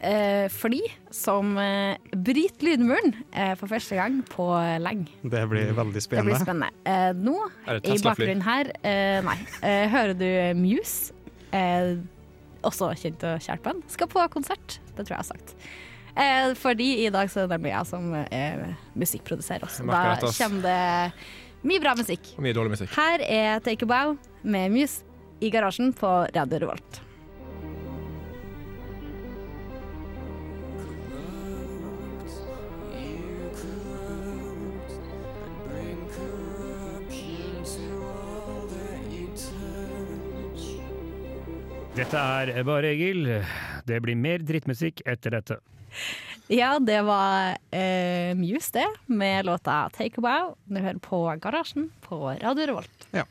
Speaker 1: eh, fly som eh, bryter lydmuren eh, for første gang på lenge.
Speaker 2: Det blir veldig
Speaker 1: Det blir
Speaker 2: spennende.
Speaker 1: spennende. Eh, nå,
Speaker 3: Er det
Speaker 1: i
Speaker 3: Tesla-fly?
Speaker 1: bakgrunnen her, eh, nei, eh, hører du Muse, eh, også kjent og kjært band, skal på konsert. Det tror jeg jeg har sagt. Eh, fordi i dag så er det nemlig jeg som er musikkproduserer også.
Speaker 3: Jeg
Speaker 1: Da
Speaker 3: merker det, ass.
Speaker 1: kommer det mye bra musikk.
Speaker 3: Og mye dårlig musikk.
Speaker 1: Her er Take a Bow med Muse i garasjen på Radio Revolt.
Speaker 7: Dette er bare Egil. Det blir mer drittmusikk etter dette.
Speaker 1: Ja, det var eh, Muse det, med låta Take a Bow. Du hører på Garasjen på Radio Revolt.
Speaker 2: Ja,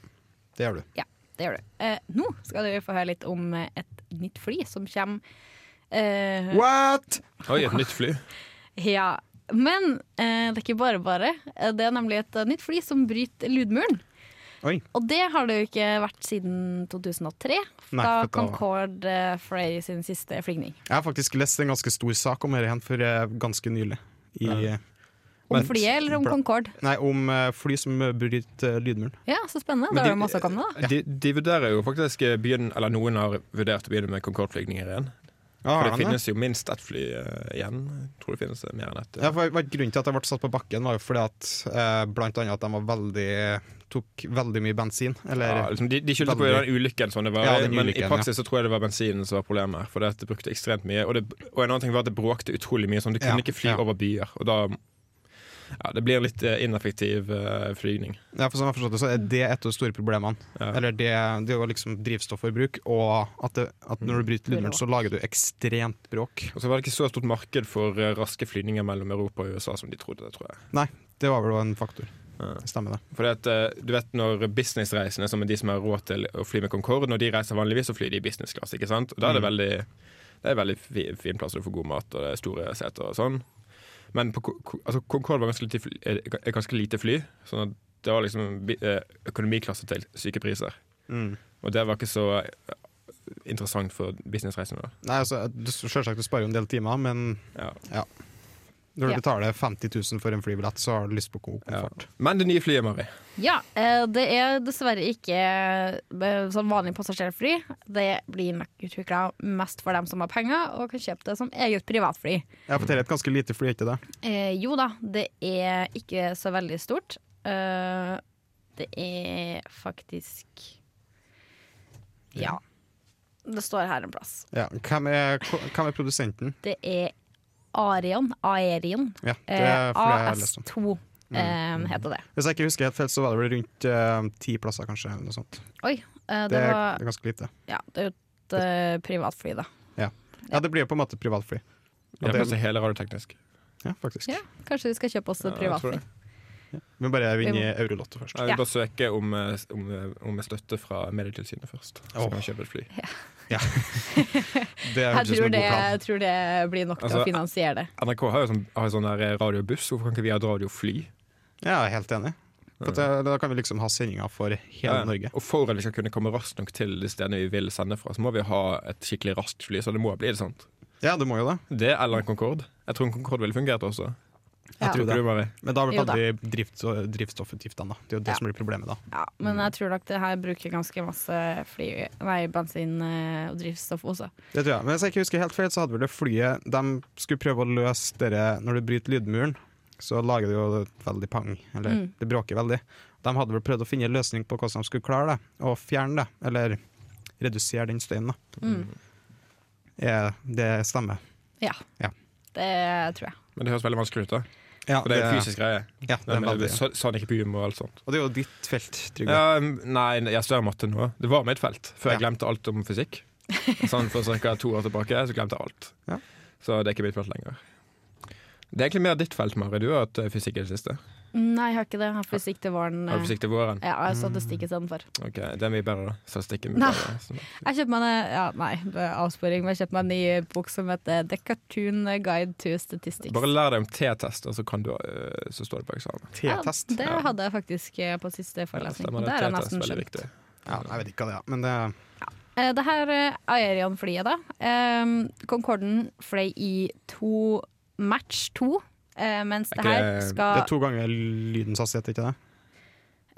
Speaker 2: det gjør du.
Speaker 1: Ja, det gjør du. Eh, nå skal du få høre litt om eh, et nytt fly som kommer. Eh,
Speaker 2: What?!
Speaker 3: Oi, et nytt fly.
Speaker 1: ja. Men eh, det er ikke bare bare. Eh, Det er nemlig et eh, nytt fly som bryter lydmuren.
Speaker 2: Oi.
Speaker 1: Og det har det jo ikke vært siden 2003,
Speaker 2: Nei,
Speaker 1: da
Speaker 2: for da-
Speaker 1: Concorde eh, fløy sin siste flygning.
Speaker 2: Jeg har faktisk lest en ganske stor sak om dette for eh, ganske nylig. I, eh,
Speaker 1: Om
Speaker 2: Men-
Speaker 1: flyet eller om
Speaker 2: Bra.
Speaker 1: Concorde?
Speaker 2: nei, om eh, fly som eh, bryter eh, lydmuren.
Speaker 1: Ja, så spennende.
Speaker 3: Men
Speaker 1: Da
Speaker 3: de-
Speaker 1: har de også kommet, da.
Speaker 3: De, de vurderer jo faktisk eh, begynn, eller Noen har vurdert å begynne med Concorde-flygninger igjen.
Speaker 2: Ja,
Speaker 3: For
Speaker 2: Ah, har
Speaker 3: det
Speaker 2: de det?
Speaker 3: finnes jo minst ett fly eh, igjen. Jeg tror det finnes eh, mer enn ett.
Speaker 2: Ja, for, for grunnen til at jeg ble satt på bakken, var jo fordi at eh, blant annet at de var veldig tok veldig mye bensin. Eller
Speaker 3: Ja, liksom de, de skyldte på
Speaker 2: Veldig.
Speaker 3: den ulykken, sånn det var,
Speaker 2: Ja, den
Speaker 3: men
Speaker 2: ulykken,
Speaker 3: i praksis så tror jeg det var bensinen som var problemet. her, For det at det brukte ekstremt mye Og, det, og en annen ting var at det bråkte utrolig mye. Sånn, du kunne
Speaker 2: Ja,
Speaker 3: ikke fly
Speaker 2: ja.
Speaker 3: over byer. Og da ja, Det blir en litt eh, ineffektiv eh, flygning.
Speaker 2: ja, for som jeg har forstått det, så er det et av de store problemene.
Speaker 3: Ja.
Speaker 2: Eller det, det er jo liksom drivstofforbruk, og at, det, at når du bryter lydmuren, så lager du ekstremt bråk.
Speaker 3: Og så var det ikke så stort marked for eh, raske flygninger mellom Europa og USA som de trodde. det tror jeg
Speaker 2: Nei, det var vel en faktor.
Speaker 3: Ja.
Speaker 2: Stemmer det.
Speaker 3: Fordi at eh, du vet Når businessreisende, som er de som har råd til å fly med Concorde, når de reiser vanligvis, så flyr de i businessklasse. ikke sant? Og Da er det veldig det er en veldig fi- fin plass, og du får god mat og det er store seter og sånn. Men på, Ko- Ko- altså Concorde var ganske lite, eh, fly, eh, ganske lite fly, sånn at det var liksom bi- eh, økonomiklasse til syke priser.
Speaker 2: Mm.
Speaker 3: Og det var ikke så eh, interessant for businessreisende.
Speaker 2: Nei, altså, du, selvsagt du sparer jo en del timer, men
Speaker 3: Ja.
Speaker 2: når du
Speaker 1: Ja.
Speaker 2: betaler 50 000 for en flybillett, så har du lyst på god
Speaker 3: Ja.
Speaker 2: komfort.
Speaker 3: Men det nye flyet, Mari.
Speaker 1: Ja, eh, det er dessverre ikke eh, sånn vanlig passasjerfly. Det blir utvikla mest for dem som har penger og kan kjøpe det som eget privatfly.
Speaker 2: Ja, for det er et ganske lite fly, ikke det?
Speaker 1: Eh, jo da, det er ikke så veldig stort. Eh, det er faktisk Ja. Det står her en plass.
Speaker 2: Ja. Hvem, er, hvem er produsenten?
Speaker 1: Det er Arion, Aerion.
Speaker 2: Ja, det
Speaker 1: Eh,
Speaker 2: er fordi jeg har lest Mm. om.
Speaker 1: AS2 eh, heter det.
Speaker 2: Hvis jeg ikke husker helt feil, så var det vel rundt eh, ti plasser, kanskje. Eller noe sånt.
Speaker 1: Oi, eh,
Speaker 2: Det
Speaker 1: det
Speaker 2: er,
Speaker 1: var
Speaker 2: det er ganske lite.
Speaker 1: Ja, det er jo et eh, privatfly, da.
Speaker 2: Ja, det blir jo på en måte privatfly.
Speaker 3: Det
Speaker 2: det-
Speaker 3: er det hele radioteknisk.
Speaker 2: Ja, faktisk.
Speaker 1: Ja, kanskje vi skal kjøpe oss et
Speaker 3: Ja, jeg tror
Speaker 1: privatfly.
Speaker 3: det.
Speaker 2: Men bare vinne i Eurolotto først.
Speaker 3: Jeg vil
Speaker 1: Ja.
Speaker 3: bare søke om, eh, om, eh, om støtte fra Medietilsynet først. Så
Speaker 2: Åh.
Speaker 3: kan jeg kjøpe et fly.
Speaker 2: Det er
Speaker 1: Jeg
Speaker 2: jo ikke som
Speaker 1: tror
Speaker 2: en
Speaker 1: det,
Speaker 2: god plan.
Speaker 1: jeg tror det blir nok til
Speaker 3: Altså,
Speaker 1: å finansiere det.
Speaker 3: NRK har jo sånn, har jo sånn der radiobuss, hvorfor kan ikke vi ha et radiofly?
Speaker 2: Ja, jeg er helt enig. For at, eh, da kan vi liksom ha sendinger for hele
Speaker 3: Ja.
Speaker 2: Norge.
Speaker 3: Og for at vi skal kunne komme raskt nok til de stedene vi vil sende fra, så må vi ha et skikkelig raskt fly. Så det må bli det sant.
Speaker 2: Ja, det må jo det.
Speaker 3: Det eller en Concorde. Jeg tror en Concorde ville fungert også.
Speaker 1: Ja.
Speaker 2: tror
Speaker 3: Tror ikke du, Mari?
Speaker 2: Men da
Speaker 1: Jo
Speaker 2: blir
Speaker 1: da.
Speaker 2: det aldri drift, drivstoffutgiftene, da. Det er jo det
Speaker 1: Ja.
Speaker 2: som blir problemet, da.
Speaker 1: Ja, men jeg tror nok det her bruker ganske masse fly, nei, bensin eh, og drivstoff også.
Speaker 2: Det tror jeg. Men hvis jeg ikke husker helt feil, så hadde vel det flyet De skulle prøve å løse dere Når du bryter lydmuren, så lager det jo et veldig pang. Eller
Speaker 1: Mm.
Speaker 2: det bråker veldig. De hadde vel prøvd å finne en løsning på hvordan de skulle klare det, og fjerne det. Eller redusere den støyen, da.
Speaker 1: Mm.
Speaker 2: Eh, det stemmer.
Speaker 1: Ja.
Speaker 2: Ja.
Speaker 1: Det tror jeg.
Speaker 3: Men det høres veldig vanskelig ut, da.
Speaker 2: Ja,
Speaker 3: For det er en fysisk greie.
Speaker 2: Ja, det er
Speaker 3: Men, eh,
Speaker 2: veldig.
Speaker 3: så- Sonic Boom og alt sånt.
Speaker 2: Og det er jo ditt felt, Trygve.
Speaker 3: Ja, nei, jeg studerer matte nå. Det var mitt felt, før jeg
Speaker 2: Ja.
Speaker 3: glemte alt
Speaker 1: (laughs)
Speaker 3: om fysikk. Sånn For ca. to år tilbake så glemte jeg alt.
Speaker 2: Ja.
Speaker 3: Så det er ikke mitt felt lenger. Det er egentlig mer ditt felt, Mari. Du har hatt eh, fysikk i det siste.
Speaker 1: Nei, jeg har ikke det. Jeg har fysikk til våren.
Speaker 3: Har du
Speaker 1: eh.
Speaker 3: fysikk til våren?
Speaker 1: Ja, jeg har statistikk
Speaker 3: Mm.
Speaker 1: istedenfor.
Speaker 3: Ok, Det er mye bedre, da. Statistikken er
Speaker 1: Nei.
Speaker 3: mye bedre. Så-
Speaker 1: Jeg kjøpte meg en ja, nei, det er avsporing, men jeg kjøpte meg en ny bok som heter The Cartoon Guide to Statistics.
Speaker 3: Bare lær deg om T-tester, så, kan du, eh, så står det på eksamen.
Speaker 2: T-test.
Speaker 1: Ja, det
Speaker 3: Ja.
Speaker 1: hadde jeg faktisk eh, på siste forelesning.
Speaker 3: stemmer det.
Speaker 1: det har jeg
Speaker 3: T-test er
Speaker 1: nesten
Speaker 3: veldig
Speaker 1: skjønt.
Speaker 3: viktig.
Speaker 2: Ja, jeg vet ikke hva det er, men det
Speaker 1: Eh, Det her eh, Aerion-flyet, da. Ehm, Concorden fløy i to match to. eh, mens det
Speaker 3: Er ikke
Speaker 1: her
Speaker 3: det-
Speaker 2: det er
Speaker 1: skal
Speaker 2: to ganger lydens hastighet, ikke det?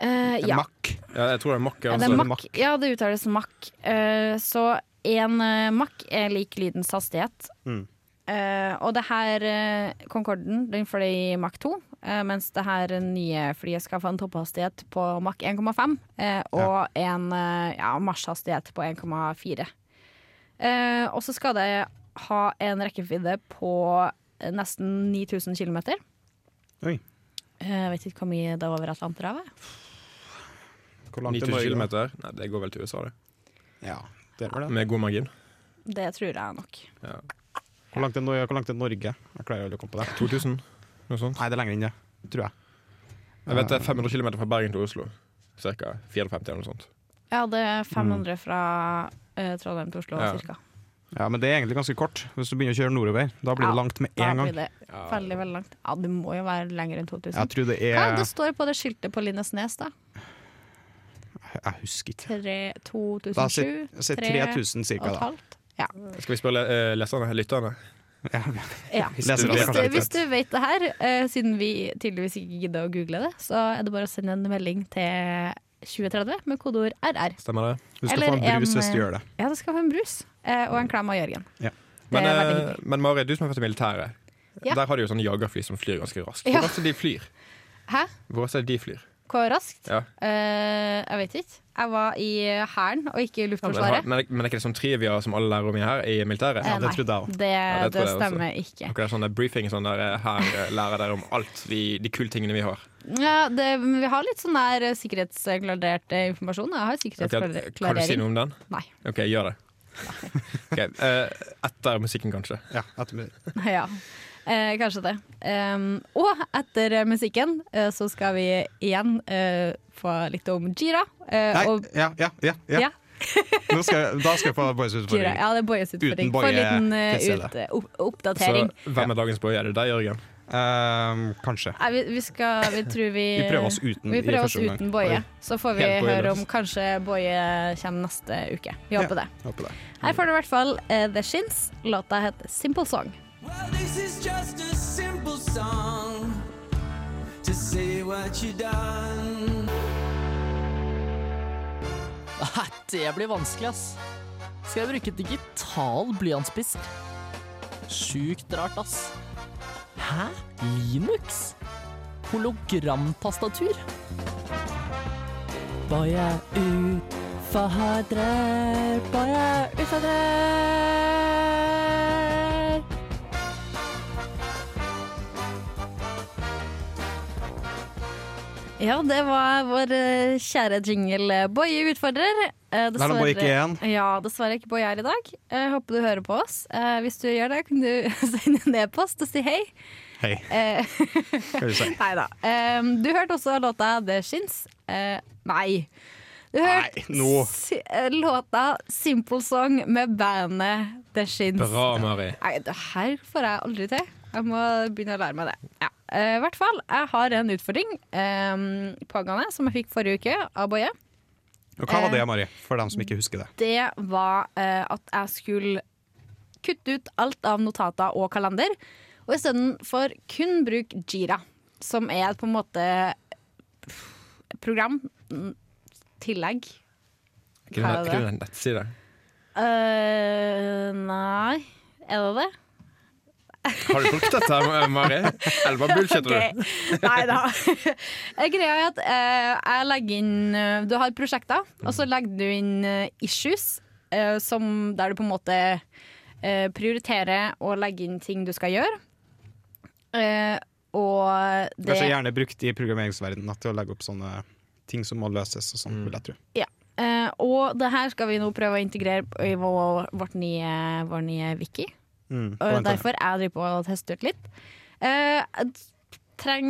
Speaker 1: Eh,
Speaker 2: En
Speaker 1: ja.
Speaker 2: Mack.
Speaker 3: Ja, jeg tror det er Mack.
Speaker 1: Ja,
Speaker 3: Altså.
Speaker 1: det er Mack. Eh, Ja, det uttales Mack. Eh, så en eh, Mack er lik lydens hastighet.
Speaker 2: Mm.
Speaker 1: Eh, og det her eh, Concorden den fløy i Mack 2, eh, mens det her nye flyet skal få en topphastighet på Mack 1,5 eh, og en eh, ja, marsjhastighet på 1,4. Eh, og så skal det ha en rekkevidde på eh, nesten 9000 km.
Speaker 2: Oi.
Speaker 1: Eh, Jeg vet ikke hvor mye det er over Atlanterhavet.
Speaker 2: Hvor langt er
Speaker 3: 9000
Speaker 2: Norge? da?
Speaker 3: km? Nei, det går vel til USA, det.
Speaker 2: Ja, det er vel det.
Speaker 3: Med god margin.
Speaker 1: Det tror jeg nok.
Speaker 2: Hvor langt er Norge? Hvor langt er Norge? Jeg klarer aldri å komme på det.
Speaker 3: 2000, noe sånt.
Speaker 2: Nei, det er lenger enn det, tror jeg.
Speaker 3: Jeg vet det er 500 km fra Bergen til Oslo. Cirka 450 eller noe sånt.
Speaker 1: Ja, det er 500 fra eh, Trondheim til Oslo,
Speaker 3: Ja.
Speaker 1: cirka.
Speaker 2: Mm. Ja, Men det er egentlig ganske kort. Hvis du begynner å kjøre nordover, da blir
Speaker 1: Ja,
Speaker 2: det langt med
Speaker 1: Da
Speaker 2: en gang.
Speaker 1: blir det veldig, veldig langt. Ja, det må jo være lenger enn 2000.
Speaker 2: Jeg tror det
Speaker 1: Hva er
Speaker 2: er
Speaker 1: det står på det skiltet på Lindesnes, da?
Speaker 2: Jeg husker ikke.
Speaker 1: Tre-
Speaker 2: Da
Speaker 1: 2007?
Speaker 2: sier sier
Speaker 1: tre
Speaker 2: 3000
Speaker 1: og
Speaker 2: cirka,
Speaker 1: et
Speaker 2: da.
Speaker 1: halvt? Ja.
Speaker 3: Skal vi spørre eh, leserne, lytterne?
Speaker 2: Ja.
Speaker 1: ja.
Speaker 2: Leser
Speaker 1: Hvis,
Speaker 2: du
Speaker 1: du,
Speaker 2: det kanskje?
Speaker 1: hvis du vet det her, eh, siden vi tydeligvis ikke gidder å google det, så er det bare å sende en melding til 2030 med kodeord RR.
Speaker 3: Stemmer det?
Speaker 2: Du skal
Speaker 1: Eller
Speaker 2: få en brus
Speaker 1: en, eh,
Speaker 2: hvis du gjør det.
Speaker 1: Ja, det skal få en brus. eh, og en klem av Jørgen.
Speaker 2: Ja.
Speaker 1: Det
Speaker 3: Men,
Speaker 1: er veldig
Speaker 3: eh,
Speaker 1: hyggelig.
Speaker 3: men Mari, du som har vært i militæret.
Speaker 1: Ja.
Speaker 3: Der har de jo sånne jagerfly som flyr ganske raskt.
Speaker 1: Ja.
Speaker 3: Hvor raskt er de flyr?
Speaker 1: Hæ?
Speaker 3: Hvor raskt er de flyr?
Speaker 1: Hvor raskt?
Speaker 3: Ja.
Speaker 1: Eh, jeg vet ikke. Jeg var i Hæren og ikke i
Speaker 3: Men,
Speaker 1: Luftforsvaret.
Speaker 3: men, men er ikke det sånn trivia som alle lærer om i her i militæret?
Speaker 1: Eh,
Speaker 2: det
Speaker 1: nei,
Speaker 2: trodde jeg også.
Speaker 1: Det,
Speaker 3: Ja, det
Speaker 1: det,
Speaker 3: tror jeg også.
Speaker 1: stemmer ikke.
Speaker 3: Dere er sånn der briefing sånn der eh, her eh, lærer dere om alt vi, de kule tingene vi har.
Speaker 1: Ja, det, men vi har litt sånn der eh, sikkerhetsklarert eh, informasjon. Jeg har
Speaker 3: Ok,
Speaker 1: sikkerhetsklarering.
Speaker 3: kan du si noe om den?
Speaker 1: Nei. (laughs)
Speaker 3: OK, gjør det. Ok, eh, etter musikken, kanskje.
Speaker 2: Ja, etter-
Speaker 1: Ja. Eh, kanskje det. Em, og etter eh, musikken eh, så skal vi igjen eh, få litt om Jira. eh,
Speaker 2: Nei,
Speaker 1: og,
Speaker 2: ja, ja, ja. ja.
Speaker 1: ja,
Speaker 2: Nå skal jeg, da skal jeg få Boys
Speaker 1: Jira.
Speaker 2: utfordring.
Speaker 1: Ja, det er Boyes utfordring.
Speaker 2: Boye
Speaker 1: Få en liten eh,
Speaker 2: til stede.
Speaker 1: ut, eh, opp-
Speaker 3: Så
Speaker 1: oppdatering.
Speaker 3: hvem er dagens boy? Er det deg, Jørgen?
Speaker 2: Ehm, kanskje.
Speaker 1: Nei, vi, vi, skal, vi tror vi
Speaker 2: Vi prøver oss uten
Speaker 1: Eh, Vi
Speaker 2: i
Speaker 1: prøver oss
Speaker 2: første omgang.
Speaker 1: uten Boje.
Speaker 2: Oi,
Speaker 1: Så får vi
Speaker 3: Helt
Speaker 1: høre om
Speaker 3: bojeløs.
Speaker 1: kanskje Boje kommer neste uke. Vi
Speaker 2: Ja.
Speaker 1: håper det.
Speaker 2: håper det.
Speaker 1: Her får du i hvert fall eh, The Shins. Låta heter Simple Song.
Speaker 4: Well, this is just a simple song to say what you done.
Speaker 8: Nei, det blir vanskelig, ass. Skal jeg bruke digital blyantspiss? Sjukt rart, ass. Hæ? Linux? Hologramtastatur? Baja utfadrer, baja utfadrer.
Speaker 1: Ja, det var vår eh, kjære jingle eh, Boje utfordrer. Eh,
Speaker 2: Da er det Boje ikke igjen.
Speaker 1: Ja, dessverre ikke Boje her i dag. Jeg håper du hører på oss. Eh, hvis du gjør det, kan du (laughs) sende en e-post og si hei.
Speaker 2: Hei,
Speaker 1: Eh,
Speaker 2: skal vi si.
Speaker 1: nei da. Eh, du hørte også låta The Shins. Eh, nei. Du hørte
Speaker 2: Nei, nå.
Speaker 1: si eh, låta Simple Song med bandet The Shins.
Speaker 3: Bra, Mari.
Speaker 1: Nei, det her får jeg aldri til. Jeg må begynne å lære meg det. Ja. Eh, I hvert fall, jeg har en utfordring eh, pågående som jeg fikk forrige uke av Boje.
Speaker 2: Og hva
Speaker 1: Eh.
Speaker 2: var det, Mari? For dem som ikke husker det.
Speaker 1: Det var eh, at jeg skulle kutte ut alt av notater og kalender, og istedenfor kun bruke Jira, som er på en måte et program, mm, tillegg.
Speaker 3: Ikke
Speaker 1: Hva er
Speaker 3: det
Speaker 1: det?
Speaker 3: en nettside?
Speaker 1: Eh, nei, er det det?
Speaker 3: Har du brukt dette, Mari? Eller bare bullshitter du?
Speaker 1: Nei da. (laughs) Greia er at eh, jeg legger inn eh, Du har prosjekter, og så legger du inn eh, issues, eh, som der du på en måte eh, prioriterer å legge inn ting du skal gjøre. Eh, og det
Speaker 2: Kanskje gjerne brukt i programmeringsverdenen til å legge opp sånne ting som må løses og sånn, vil jeg tro.
Speaker 1: Eh, og det her skal vi nå prøve å integrere i vår, vårt nye, vår nye wiki.
Speaker 2: Mm, på
Speaker 1: Og
Speaker 2: internett.
Speaker 1: derfor jeg driver på å teste ut litt. Eh, jeg treng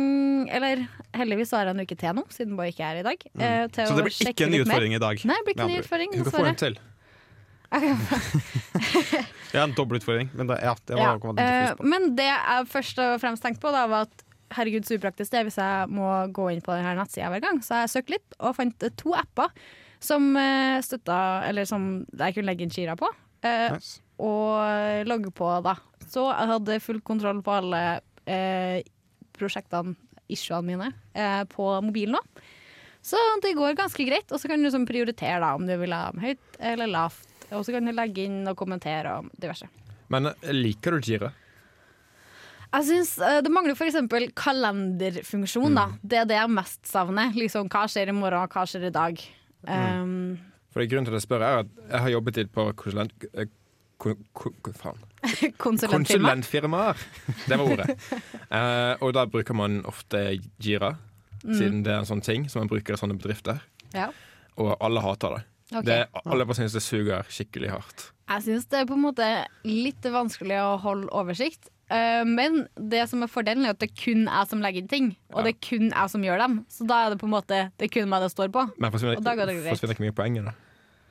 Speaker 1: Eller heldigvis har jeg en uke til nå, siden Boy ikke er her i dag. eh, til
Speaker 2: Mm. Så det
Speaker 1: å
Speaker 2: blir
Speaker 1: sjekke
Speaker 2: ikke en ny
Speaker 1: litt mer.
Speaker 2: utfordring i dag.
Speaker 1: Nei, det blir ikke en ny
Speaker 2: Med andre ord.
Speaker 1: utfordring,
Speaker 3: Du kan få
Speaker 1: dessverre. (laughs)
Speaker 3: en til.
Speaker 2: (laughs) Ja, en dobbel utfordring. Men det, ja, det var
Speaker 1: Ja,
Speaker 2: kom jeg til å
Speaker 1: eh, men det jeg først og fremst tenkte på, da, var at herregud, så upraktisk det er hvis jeg må gå inn på denne nettsida hver gang. Så jeg søkte litt og fant eh, to apper som eh, støtta Eller som jeg kunne legge inn Jira på. eh,
Speaker 2: Nice.
Speaker 1: Og logge på, da. Så jeg hadde full kontroll på alle eh, prosjektene, issuene mine, eh, på mobilen òg. Så det går ganske greit. Og så kan du liksom prioritere da, om du vil ha høyt eller lavt. Og så kan du legge inn og kommentere og diverse.
Speaker 3: Men eh, liker du Jira?
Speaker 1: Jeg synes eh, Det mangler f.eks. kalenderfunksjon. da Det er det jeg mest savner. Liksom, hva skjer i morgen, hva skjer i dag? Um,
Speaker 3: Fordi Grunnen til at jeg spør, er at jeg har jobbet i et par konsulent... eh, ko- ko- ko- faen.
Speaker 1: (laughs) Konsulentfirma.
Speaker 3: Konsulentfirmaer! Det var
Speaker 1: (laughs)
Speaker 3: ordet. Eh, og da bruker man ofte Jira,
Speaker 1: Mm.
Speaker 3: siden det er en sånn ting som man bruker i sånne bedrifter.
Speaker 1: Ja.
Speaker 3: Og alle hater det.
Speaker 1: Ok.
Speaker 3: det alle bare synes det suger skikkelig hardt.
Speaker 1: Jeg syns det er på en måte litt vanskelig å holde oversikt. Eh, men det som er fordelen, er at det er kun jeg som legger inn ting. Og
Speaker 3: Ja.
Speaker 1: det er kun jeg som gjør dem. Så da er det på en måte Det er kun meg det står på.
Speaker 3: Men forsvinner,
Speaker 1: Og da går det greit.
Speaker 3: forsvinner ikke mye poenget, da.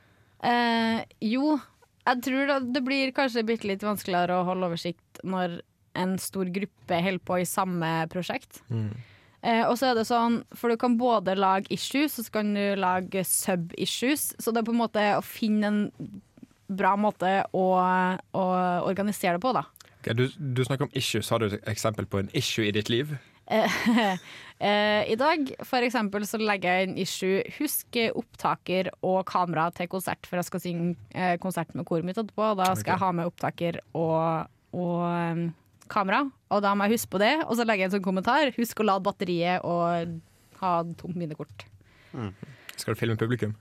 Speaker 1: Eh, jo, jeg tror da, det blir kanskje bitte litt vanskeligere å holde oversikt når en stor gruppe holder på i samme prosjekt. Eh, og så er det sånn, for du kan både lage issues, og så kan du lage sub-issues. Så det er på en måte å finne en bra måte å, å organisere det på, da.
Speaker 3: Ok, du, du snakker om issues. Har du et eksempel på en issue i ditt liv?
Speaker 1: Eh, (laughs) I dag for eksempel, så legger jeg inn issue Husk eh, opptaker og kamera til konsert, for jeg skal synge eh, konsert med koret mitt etterpå. og Da skal jeg ha med opptaker og, og em, kamera, og da må jeg huske på det. Og så legger jeg en sånn kommentar. Husk å lade batteriet og ha tomt minnekort.
Speaker 3: Skal du filme publikum?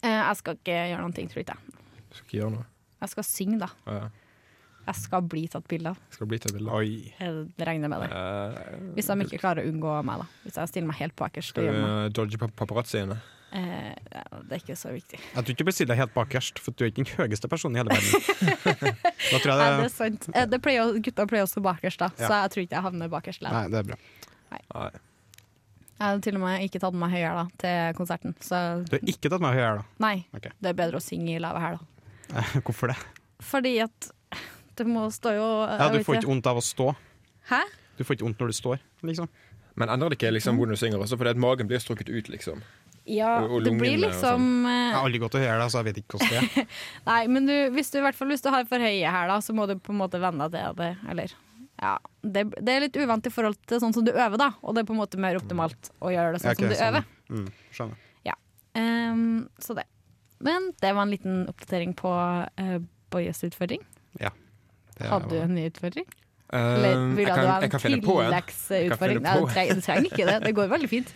Speaker 1: Eh, jeg skal ikke gjøre noen ting, tror ikke jeg.
Speaker 3: Du skal ikke gjøre noe.
Speaker 1: Jeg skal synge, da.
Speaker 3: Ja, ja.
Speaker 1: Jeg skal bli tatt bilde av.
Speaker 3: Skal det bli til et bilde?
Speaker 2: Oi.
Speaker 1: Jeg regner med det.
Speaker 3: Eh,
Speaker 1: Hvis de ikke klarer å unngå meg, da. Hvis jeg stiller meg helt bakerst
Speaker 3: skal
Speaker 1: og gjemmer meg.
Speaker 3: du dodge pap- paparazziene?
Speaker 1: Eh, ja, det er ikke så viktig.
Speaker 2: Jeg tror ikke du bestiller deg helt bakerst, for du er ikke den høyeste personen i hele verden.
Speaker 1: (laughs)
Speaker 2: da
Speaker 1: Nei,
Speaker 2: tror jeg
Speaker 1: det
Speaker 2: det
Speaker 1: er sant. Eh, Det pleier, å- gutta pleier også bakerst, da, så
Speaker 2: Ja.
Speaker 1: jeg tror ikke jeg havner bakerst.
Speaker 2: Nei,
Speaker 1: Nei.
Speaker 2: det er bra.
Speaker 3: Nei.
Speaker 1: Jeg hadde til og med ikke tatt med meg høyere da, til konserten, så
Speaker 2: Du har ikke tatt meg høyere,
Speaker 1: nei.
Speaker 2: Ok.
Speaker 1: Det er bedre å synge i lave her, da.
Speaker 2: da. (laughs) Hvorfor det?
Speaker 1: Fordi at det må stå jo jeg
Speaker 2: Ja, Du
Speaker 1: vet
Speaker 2: får ikke vondt av å stå.
Speaker 1: Hæ?
Speaker 2: Du får ikke vondt når du står, liksom.
Speaker 3: Men endrer det ikke liksom, hvordan du synger også, fordi at magen blir strukket ut, liksom.
Speaker 1: Ja,
Speaker 3: Og- og
Speaker 1: det blir
Speaker 3: lungene og
Speaker 1: liksom eh,
Speaker 2: Jeg har aldri gått og hørt det, så jeg vet ikke hvordan det er.
Speaker 1: Nei, men du, hvis du, i hvert fall hvis du har for høye hæler, så må du på en måte venne deg til det. Eller, ja. det, det er litt uvant i forhold til sånn som du øver, da. Og det er på en måte mer optimalt å gjøre det (laughs) sånn
Speaker 2: Ja, ok,
Speaker 1: som du
Speaker 2: sånn.
Speaker 1: øver.
Speaker 2: Mm, skjønner.
Speaker 1: Ehm, så det. Men det var en liten oppdatering på eh, Bojes utfordring.
Speaker 2: Det er-
Speaker 1: Hadde du en ny utfordring?
Speaker 3: Eh,
Speaker 1: Eller
Speaker 3: jeg
Speaker 1: ville du
Speaker 3: kan,
Speaker 1: ha
Speaker 3: jeg
Speaker 1: en
Speaker 3: kan finne på en. Jeg kan
Speaker 1: tilleggsutfordring?
Speaker 3: finne
Speaker 1: Nei,
Speaker 3: på
Speaker 1: du trenger, du trenger ikke det. Det går veldig fint.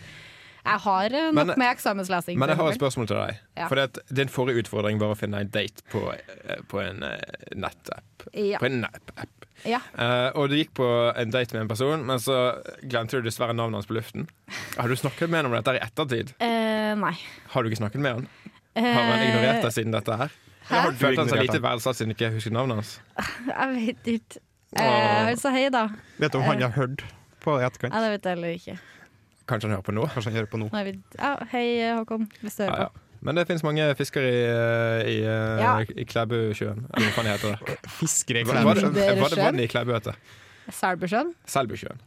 Speaker 1: Jeg har eh,
Speaker 3: Men-
Speaker 1: nok med eksamenslesing.
Speaker 3: Men jeg har et
Speaker 1: for eksempel.
Speaker 3: spørsmål til deg.
Speaker 1: Ja.
Speaker 3: Fordi at Din forrige utfordring var å finne en date på, eh, på en eh, nettapp.
Speaker 1: Ja.
Speaker 3: På en app.
Speaker 1: Ja.
Speaker 3: og du gikk på en date med en person, men så glemte du dessverre navnet hans på luften. Har du snakket med han om dette her i ettertid?
Speaker 1: Eh, nei. Eh,
Speaker 3: Har du ikke snakket med han? Har han ignorert deg siden dette her? Har du følt han så
Speaker 2: Eh, ignorert
Speaker 3: lite
Speaker 2: han?
Speaker 3: verdsatt siden du ikke husker navnet hans?
Speaker 1: (laughs) Jeg vet ikke. Eh, altså, hei, da.
Speaker 2: Vet du om han har hørt på i etterkant?
Speaker 1: Ja, det vet jeg heller ikke.
Speaker 3: Kanskje han hører på nå?
Speaker 2: Kanskje han hører på nå.
Speaker 1: Nei, vi, ja, hei, Håkon, hvis du
Speaker 3: Ja,
Speaker 1: hører
Speaker 3: ja. Men det finnes mange fiskere i, eh, i, eh,
Speaker 1: Ja.
Speaker 3: i Klæbusjøen. Eller hva faen heter det?
Speaker 2: Fisker i
Speaker 3: Hva, hva,
Speaker 2: klærne.
Speaker 3: det- hva det vannet i Klæbu heter?
Speaker 1: på. Selbusjøen?
Speaker 3: Selbusjøen.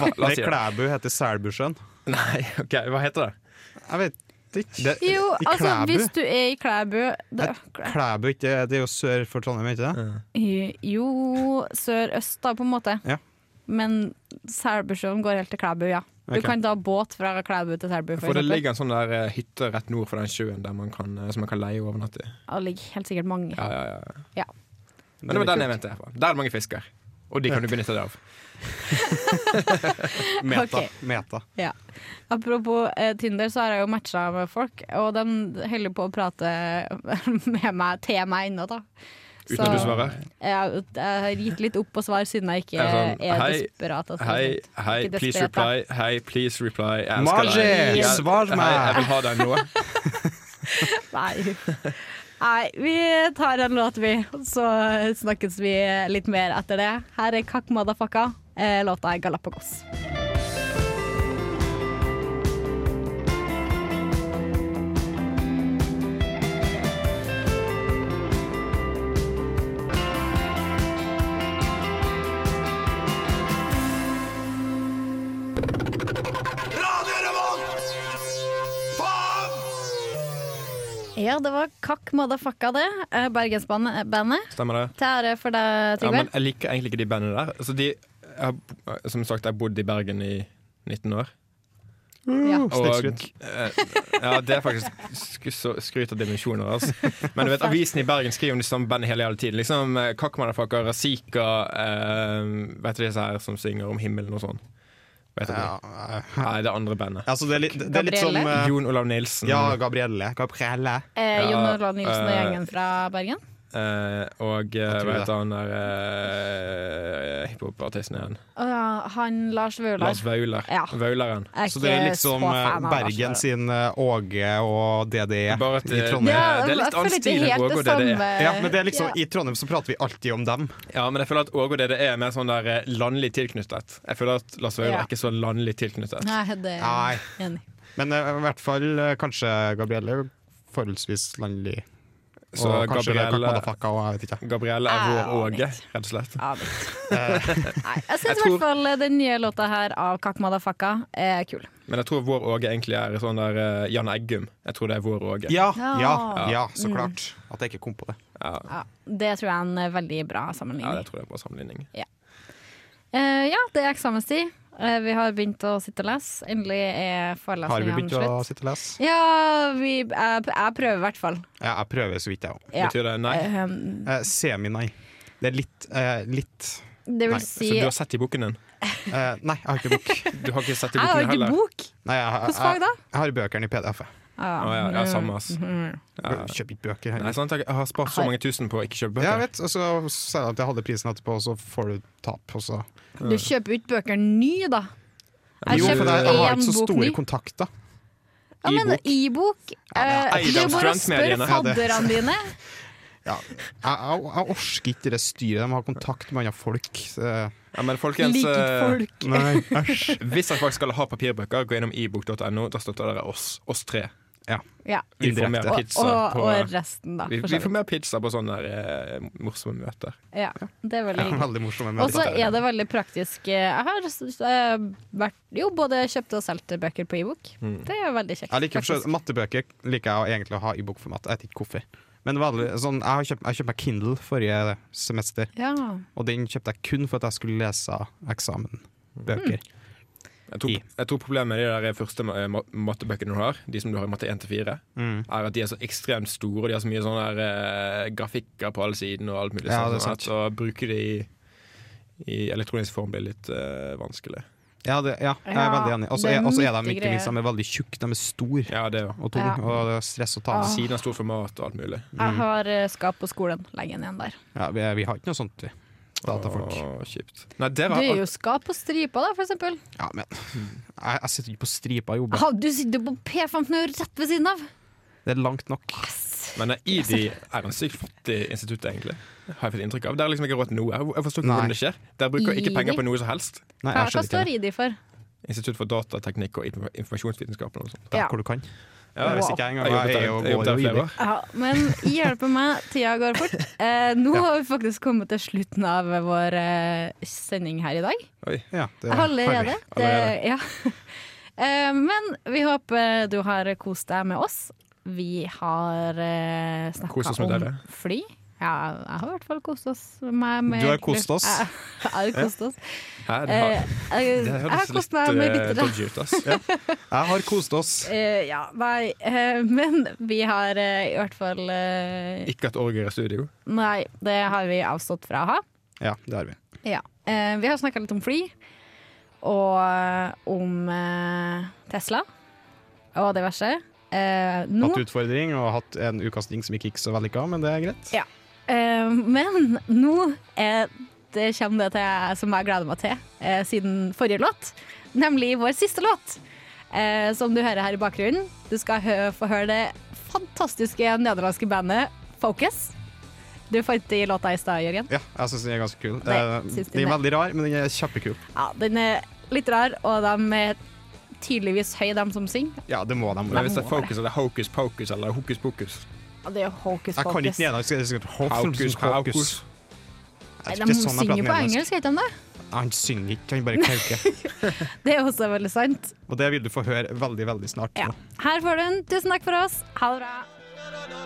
Speaker 3: La oss
Speaker 2: Vannet i
Speaker 3: si det.
Speaker 2: Klæbu heter Selbusjøen.
Speaker 3: (laughs) Nei, ok, hva heter det?
Speaker 2: Jeg vet ikke.
Speaker 3: Det-
Speaker 1: Jo,
Speaker 2: I
Speaker 1: altså,
Speaker 2: Klæbu?
Speaker 1: hvis du er i Klæbu da,
Speaker 2: Klæbu ikke, det er jo sør for Trondheim, ikke det?
Speaker 1: Jo, sør-øst, da, på en måte.
Speaker 2: Ja.
Speaker 1: Men Selbusjøen går helt til Klæbu, ja. Du
Speaker 2: Ok.
Speaker 1: kan da båt fra Klæbu til Selbu, for,
Speaker 3: For det
Speaker 1: eksempel.
Speaker 3: ligger en sånn der eh, hytte rett nord for den sjøen der man kan, eh, som man kan leie og overnatte i.
Speaker 1: Og det ligger helt sikkert mange.
Speaker 3: Ja, ja, ja.
Speaker 1: Ja.
Speaker 3: Men det var den jeg mente. jeg var. Der er det mange fisker. Og de kan du benytte deg (laughs) av.
Speaker 2: Meta.
Speaker 1: Ok.
Speaker 2: Meta.
Speaker 1: Ja. Apropos eh, Tinder, så har jeg jo matcha med folk, og de holder på å prate (laughs) med meg, til meg ennå, da.
Speaker 3: Uten at du svarer.
Speaker 1: Jeg, jeg har gitt litt opp på svar, siden jeg ikke
Speaker 3: Er
Speaker 1: er,
Speaker 3: det sånn, hei,
Speaker 1: desperat. altså.
Speaker 3: Hei, hei,
Speaker 1: Ikke
Speaker 3: please
Speaker 1: desperat, da.
Speaker 3: reply. Hei, please reply. Jeg elsker
Speaker 2: Margie,
Speaker 3: deg. Jeg-
Speaker 2: svar
Speaker 3: Hei,
Speaker 2: meg!
Speaker 3: jeg vil ha deg nå.
Speaker 1: Nei. Nei, vi tar en låt, vi. Så snakkes vi litt mer etter det. Her er Kakk Madafakka. Eh, Låta er Galapagos. Ja, det var Kakk Madafakka, det. Eh, Bergensbandet. bandet.
Speaker 3: Stemmer det?
Speaker 1: Til ære for deg,
Speaker 3: Ja,
Speaker 1: Trygve.
Speaker 3: men jeg liker egentlig ikke de bandene der. Altså, de, jeg, har- som sagt, jeg har bodd i Bergen i 19 år.
Speaker 1: Ja.
Speaker 2: Snikskryt.
Speaker 3: eh, ja, det er faktisk sk- så- skryt av dimensjoner. Altså. Men du vet, avisen i Bergen skriver om de samme bandene hele jævla tiden. Liksom eh, Kakmanafaker, Razika eh, Vet du disse her som synger om himmelen og sånn? Vet du ikke?
Speaker 2: Ja, eh,
Speaker 3: Nei, det andre bandet.
Speaker 2: altså, det er litt, det er litt som eh,
Speaker 3: Jon Olav Nilsen
Speaker 2: Ja, Gabrielle. Gabrielle.
Speaker 1: Eh,
Speaker 3: Ja,
Speaker 1: Jon Olav Nilsen og
Speaker 3: eh,
Speaker 1: gjengen fra Bergen.
Speaker 3: eh, og eh,
Speaker 2: Jeg tror
Speaker 3: hva
Speaker 2: det.
Speaker 3: heter han der eh, hiphop-artisten igjen?
Speaker 1: Og ja, han Lars Vaular.
Speaker 3: Lars Vaular.
Speaker 1: Ja.
Speaker 3: Vaularen.
Speaker 1: Jeg
Speaker 2: Så det er
Speaker 1: ikke
Speaker 2: litt
Speaker 3: liksom,
Speaker 2: som
Speaker 1: så
Speaker 2: eh,
Speaker 1: fan av Lars
Speaker 2: Bergen
Speaker 1: Vaular.
Speaker 2: sin eh, Åge og DDE
Speaker 3: Bare at
Speaker 2: i
Speaker 3: eh,
Speaker 2: Trondheim.
Speaker 1: Ja,
Speaker 3: det er
Speaker 1: jeg
Speaker 3: litt annen
Speaker 1: føler ikke
Speaker 3: stil enn
Speaker 1: helt
Speaker 3: Åge og
Speaker 1: det
Speaker 3: DDE.
Speaker 1: samme.
Speaker 2: Ja, men det er liksom,
Speaker 1: Ja.
Speaker 2: I Trondheim så prater vi alltid om dem.
Speaker 3: Ja, men jeg føler at Åge og DDE er mer sånn der eh, landlig tilknyttet. Jeg føler at Lars Vaular
Speaker 1: Ja.
Speaker 3: er ikke så landlig tilknyttet.
Speaker 1: Nei, det er
Speaker 2: Nei.
Speaker 1: jeg enig. i.
Speaker 2: Men eh, i hvert fall eh, kanskje Gabrielle forholdsvis landlig. Og
Speaker 3: Så
Speaker 2: kanskje Gabrielle...
Speaker 3: Gabrielle,
Speaker 2: Kakmadafaka og jeg vet ikke.
Speaker 3: Gabrielle er
Speaker 1: Ja,
Speaker 3: vår Åge,
Speaker 1: litt.
Speaker 3: rett og (laughs) slett.
Speaker 1: Ja, vet. Nei, jeg syns i
Speaker 3: Eh, tror-
Speaker 1: hvert fall eh, den nye låta her av Kakk Madafakka er kul.
Speaker 3: Men jeg tror vår Åge egentlig er sånn der eh, Jan Eggum. Jeg tror det er vår Åge.
Speaker 2: Ja,
Speaker 1: Ja. Mm.
Speaker 2: ja, ja, så klart. At jeg ikke kom på det.
Speaker 1: Ja, det tror jeg er en eh, veldig bra
Speaker 3: Ja,
Speaker 1: sammenligning.
Speaker 3: det tror jeg er en bra sammenligning.
Speaker 1: Eh, ja, det er eksamenstid. Eh, vi har begynt å sitte og lese. Endelig er
Speaker 2: Har vi
Speaker 1: forelesningen
Speaker 2: begynt
Speaker 1: slutt.
Speaker 2: å sitte og lese?
Speaker 1: Ja, vi, jeg, jeg prøver i hvert fall.
Speaker 2: Ja, jeg prøver så vidt, jeg òg.
Speaker 1: Ja.
Speaker 3: Betyr det nei?
Speaker 1: Eh,
Speaker 2: Eh, semi, nei. Det er litt eh, litt
Speaker 1: det vil
Speaker 2: Nei,
Speaker 1: si
Speaker 3: Så altså, du har sett i boken din?
Speaker 2: eh, Nei, jeg har ikke bok.
Speaker 3: Du har ikke sett i
Speaker 1: Jeg har jo
Speaker 3: boken din
Speaker 1: ikke
Speaker 3: heller?
Speaker 1: bok!
Speaker 2: Nei, jeg, jeg,
Speaker 1: Hvilket fag da?
Speaker 2: jeg har bøkene i PDF. -et.
Speaker 1: Ah,
Speaker 3: Å, ja, ja, samme ass.
Speaker 1: Mhm.
Speaker 2: Jeg Kjøper ikke bøker.
Speaker 3: Nei,
Speaker 2: Her.
Speaker 3: sant? Jeg har spart så mange tusen på å ikke kjøpe
Speaker 2: Ja, jeg
Speaker 3: bøker.
Speaker 2: vet, og så sa jeg at jeg hadde prisen etterpå, og så får du tap. Og så.
Speaker 1: Du kjøper jo ikke bøker ny, da. Jeg
Speaker 2: Jo, for
Speaker 1: kjøpte
Speaker 2: jeg, jeg har
Speaker 1: én
Speaker 2: ikke så
Speaker 1: bok
Speaker 2: store
Speaker 1: ny.
Speaker 2: kontakter.
Speaker 1: Ja, men
Speaker 3: E-bok.
Speaker 1: e-bok eh,
Speaker 3: eid
Speaker 1: Det er bare å
Speaker 3: av
Speaker 1: spørre
Speaker 3: studentmediene.
Speaker 2: Ja, det-
Speaker 1: fadderne dine.
Speaker 3: (laughs)
Speaker 2: Ja. Jeg, jeg, jeg orsker ikke det styret. De har kontakt med andre folk. så-
Speaker 3: Ja, men folkens,
Speaker 1: Liket
Speaker 3: eh,
Speaker 1: folk.
Speaker 2: Nei, (laughs) æsj.
Speaker 3: hvis dere faktisk skal ha papirbøker, gå gjennom ebook.no. Da støtter dere oss, oss tre.
Speaker 2: Ja.
Speaker 1: Ja.
Speaker 3: Vi får mer
Speaker 2: Indirekte.
Speaker 1: Og,
Speaker 3: pizza
Speaker 1: og,
Speaker 3: på
Speaker 1: og resten, da.
Speaker 3: vi,
Speaker 1: For
Speaker 3: vi
Speaker 1: så
Speaker 3: får
Speaker 1: vidt.
Speaker 3: mer pizza på sånne der, eh, morsomme møter.
Speaker 1: Ja, det er veldig
Speaker 2: Ja,
Speaker 1: hyggelig.
Speaker 2: veldig morsomme
Speaker 1: Og så
Speaker 2: møter.
Speaker 1: er det veldig praktisk. Jeg har eh, vært, jo, både kjøpt og solgt bøker på e-bok. Det er veldig kjekt.
Speaker 2: Mm. Jeg liker for så
Speaker 1: faktisk.
Speaker 2: vidt- Mattebøker liker jeg å egentlig å ha i bokformat. Jeg vet ikke hvorfor. Men vanlig, sånn, jeg har kjøpt- jeg kjøpte meg Kindle forrige semester,
Speaker 1: Ja.
Speaker 2: og den kjøpte jeg kun for at jeg skulle lese eksamenbøker.
Speaker 1: Mm.
Speaker 3: Jeg tror,
Speaker 2: I.
Speaker 3: jeg tror problemet med de der første ma- eh, ma- mattebøkene du har, de som du har i matte 1 til 4,
Speaker 2: Mm.
Speaker 3: er at de er så ekstremt store, og de har så mye sånne der, eh, grafikker på alle sidene og alt mulig
Speaker 2: Ja,
Speaker 3: sånn,
Speaker 2: det er sant.
Speaker 3: at å bruke de i, i elektronisk form blir litt eh, vanskelig.
Speaker 2: Ja, det, ja, jeg er
Speaker 1: Ja,
Speaker 2: veldig enig. Og så
Speaker 1: det er
Speaker 2: er, og så er de
Speaker 1: mye
Speaker 2: ikke minst
Speaker 1: greier.
Speaker 2: de er veldig tjukke. De er store
Speaker 3: Ja, det òg.
Speaker 2: og tunge,
Speaker 1: Ja.
Speaker 2: og det er stress å ta med.
Speaker 1: Ah.
Speaker 3: Siden av stort format og alt mulig.
Speaker 2: Mm.
Speaker 1: Jeg har eh, skap på skolen. Legg den igjen der.
Speaker 2: Ja, vi, vi har ikke noe sånt, vi. Datafolk.
Speaker 1: Ah.
Speaker 3: Åh, kjipt. Nei, dere
Speaker 1: Du
Speaker 3: har
Speaker 1: er
Speaker 3: alt-
Speaker 1: jo skap på stripa, da, for eksempel.
Speaker 2: Ja, men jeg, jeg sitter ikke på stripa og jobber.
Speaker 1: Ah, du sitter på P15 og er rett ved siden av!
Speaker 2: Det er langt nok.
Speaker 3: Men eh,
Speaker 2: (laughs)
Speaker 3: ID er en sykt fattig institutt, egentlig. Har jeg fått inntrykk av. Dere har liksom ikke råd til noe. Jeg- Jeg forstår ikke
Speaker 2: Nei.
Speaker 3: hvordan det skjer. Dere bruker ikke
Speaker 1: ID?
Speaker 3: penger på noe som helst.
Speaker 1: Hva,
Speaker 2: Nei, jeg
Speaker 1: hva
Speaker 2: skjønner ikke
Speaker 1: står ID for?
Speaker 3: Institutt for datateknikk og inf- informasjonsvitenskap eller noe sånt.
Speaker 2: det.
Speaker 1: Ja.
Speaker 2: Hvor du kan.
Speaker 3: Ja,
Speaker 2: Jeg
Speaker 3: jeg
Speaker 2: visste ikke jeg engang.
Speaker 3: jobbet
Speaker 2: Jeg
Speaker 3: der-
Speaker 2: er jo
Speaker 3: jeg jobbet
Speaker 2: går
Speaker 3: der
Speaker 2: jo
Speaker 3: flere
Speaker 2: ivrig.
Speaker 3: år.
Speaker 1: Ja, men hjelpe meg, tida går fort. Eh, nå har vi faktisk kommet til slutten av vår eh, sending her i dag.
Speaker 3: Oi.
Speaker 2: Ja, det har vi.
Speaker 1: Allerede. Det,
Speaker 3: Allerede.
Speaker 1: ja. (laughs) Eh, men vi håper du har kost deg med oss. Vi har eh,
Speaker 3: Kost
Speaker 1: snakka
Speaker 3: oss med
Speaker 1: om
Speaker 3: dere.
Speaker 1: fly. Ja, jeg har i hvert fall kost oss meg med
Speaker 2: Du har kost oss.
Speaker 1: Jeg, (laughs) jeg har kost oss.
Speaker 3: Hæ, det har-
Speaker 1: Eh, jeg,
Speaker 3: det
Speaker 1: jeg
Speaker 3: høres
Speaker 1: har kost
Speaker 3: litt,
Speaker 1: meg med
Speaker 3: eh,
Speaker 1: litt
Speaker 3: dodgy ut,
Speaker 1: (laughs)
Speaker 3: ass. Ja.
Speaker 2: Jeg har kost oss.
Speaker 1: Eh, ja, nei, eh, (laughs) men vi har eh, i hvert fall eh,
Speaker 3: Ikke at orger er studio.
Speaker 1: Nei, det har vi avstått fra å ha.
Speaker 2: Ja, det har vi.
Speaker 1: Ja. Eh, vi har snakka litt om fly, og eh, om eh, Tesla og diverse. Eh, nå
Speaker 2: Hatt utfordring og hatt en utkasting som ikke gikk så vellykka, men det er greit.
Speaker 1: Ja. Eh, Men nå er det kommer det til jeg- som jeg gleder meg til eh, siden forrige låt, nemlig vår siste låt. Eh, som du hører her i bakgrunnen. Du skal hø få høre det fantastiske nederlandske bandet Focus. Du fant de låta i stad, Jørgen.
Speaker 2: Ja, jeg syns den er ganske kul.
Speaker 1: Nei,
Speaker 2: Eh,
Speaker 1: syns
Speaker 2: Den
Speaker 1: den
Speaker 2: er
Speaker 1: er-
Speaker 2: veldig rar, men den er kjempekul.
Speaker 1: Ja, den er litt rar, og de er tydeligvis høye, de som synger.
Speaker 2: Ja, det må de.
Speaker 3: Men hvis det er focus, eller hocus pocus eller hokus pokus
Speaker 1: Og det er jo hocus
Speaker 2: Jeg kan
Speaker 1: pocus.
Speaker 2: ikke nederlandsk. det er sikkert Hocus Pocus.
Speaker 3: pokus.
Speaker 2: Jeg tror
Speaker 1: de
Speaker 2: ikke sånn jeg
Speaker 1: synger
Speaker 2: prater
Speaker 1: på
Speaker 2: nederlandsk.
Speaker 1: engelsk, heter de det?
Speaker 2: Han synger ikke, han
Speaker 1: (laughs)
Speaker 2: bare kauker.
Speaker 1: Det er også veldig sant.
Speaker 2: Og det vil du få høre veldig, veldig snart.
Speaker 1: Ja. Her får du den. Tusen takk for oss. Ha det bra.
Speaker 4: no, no,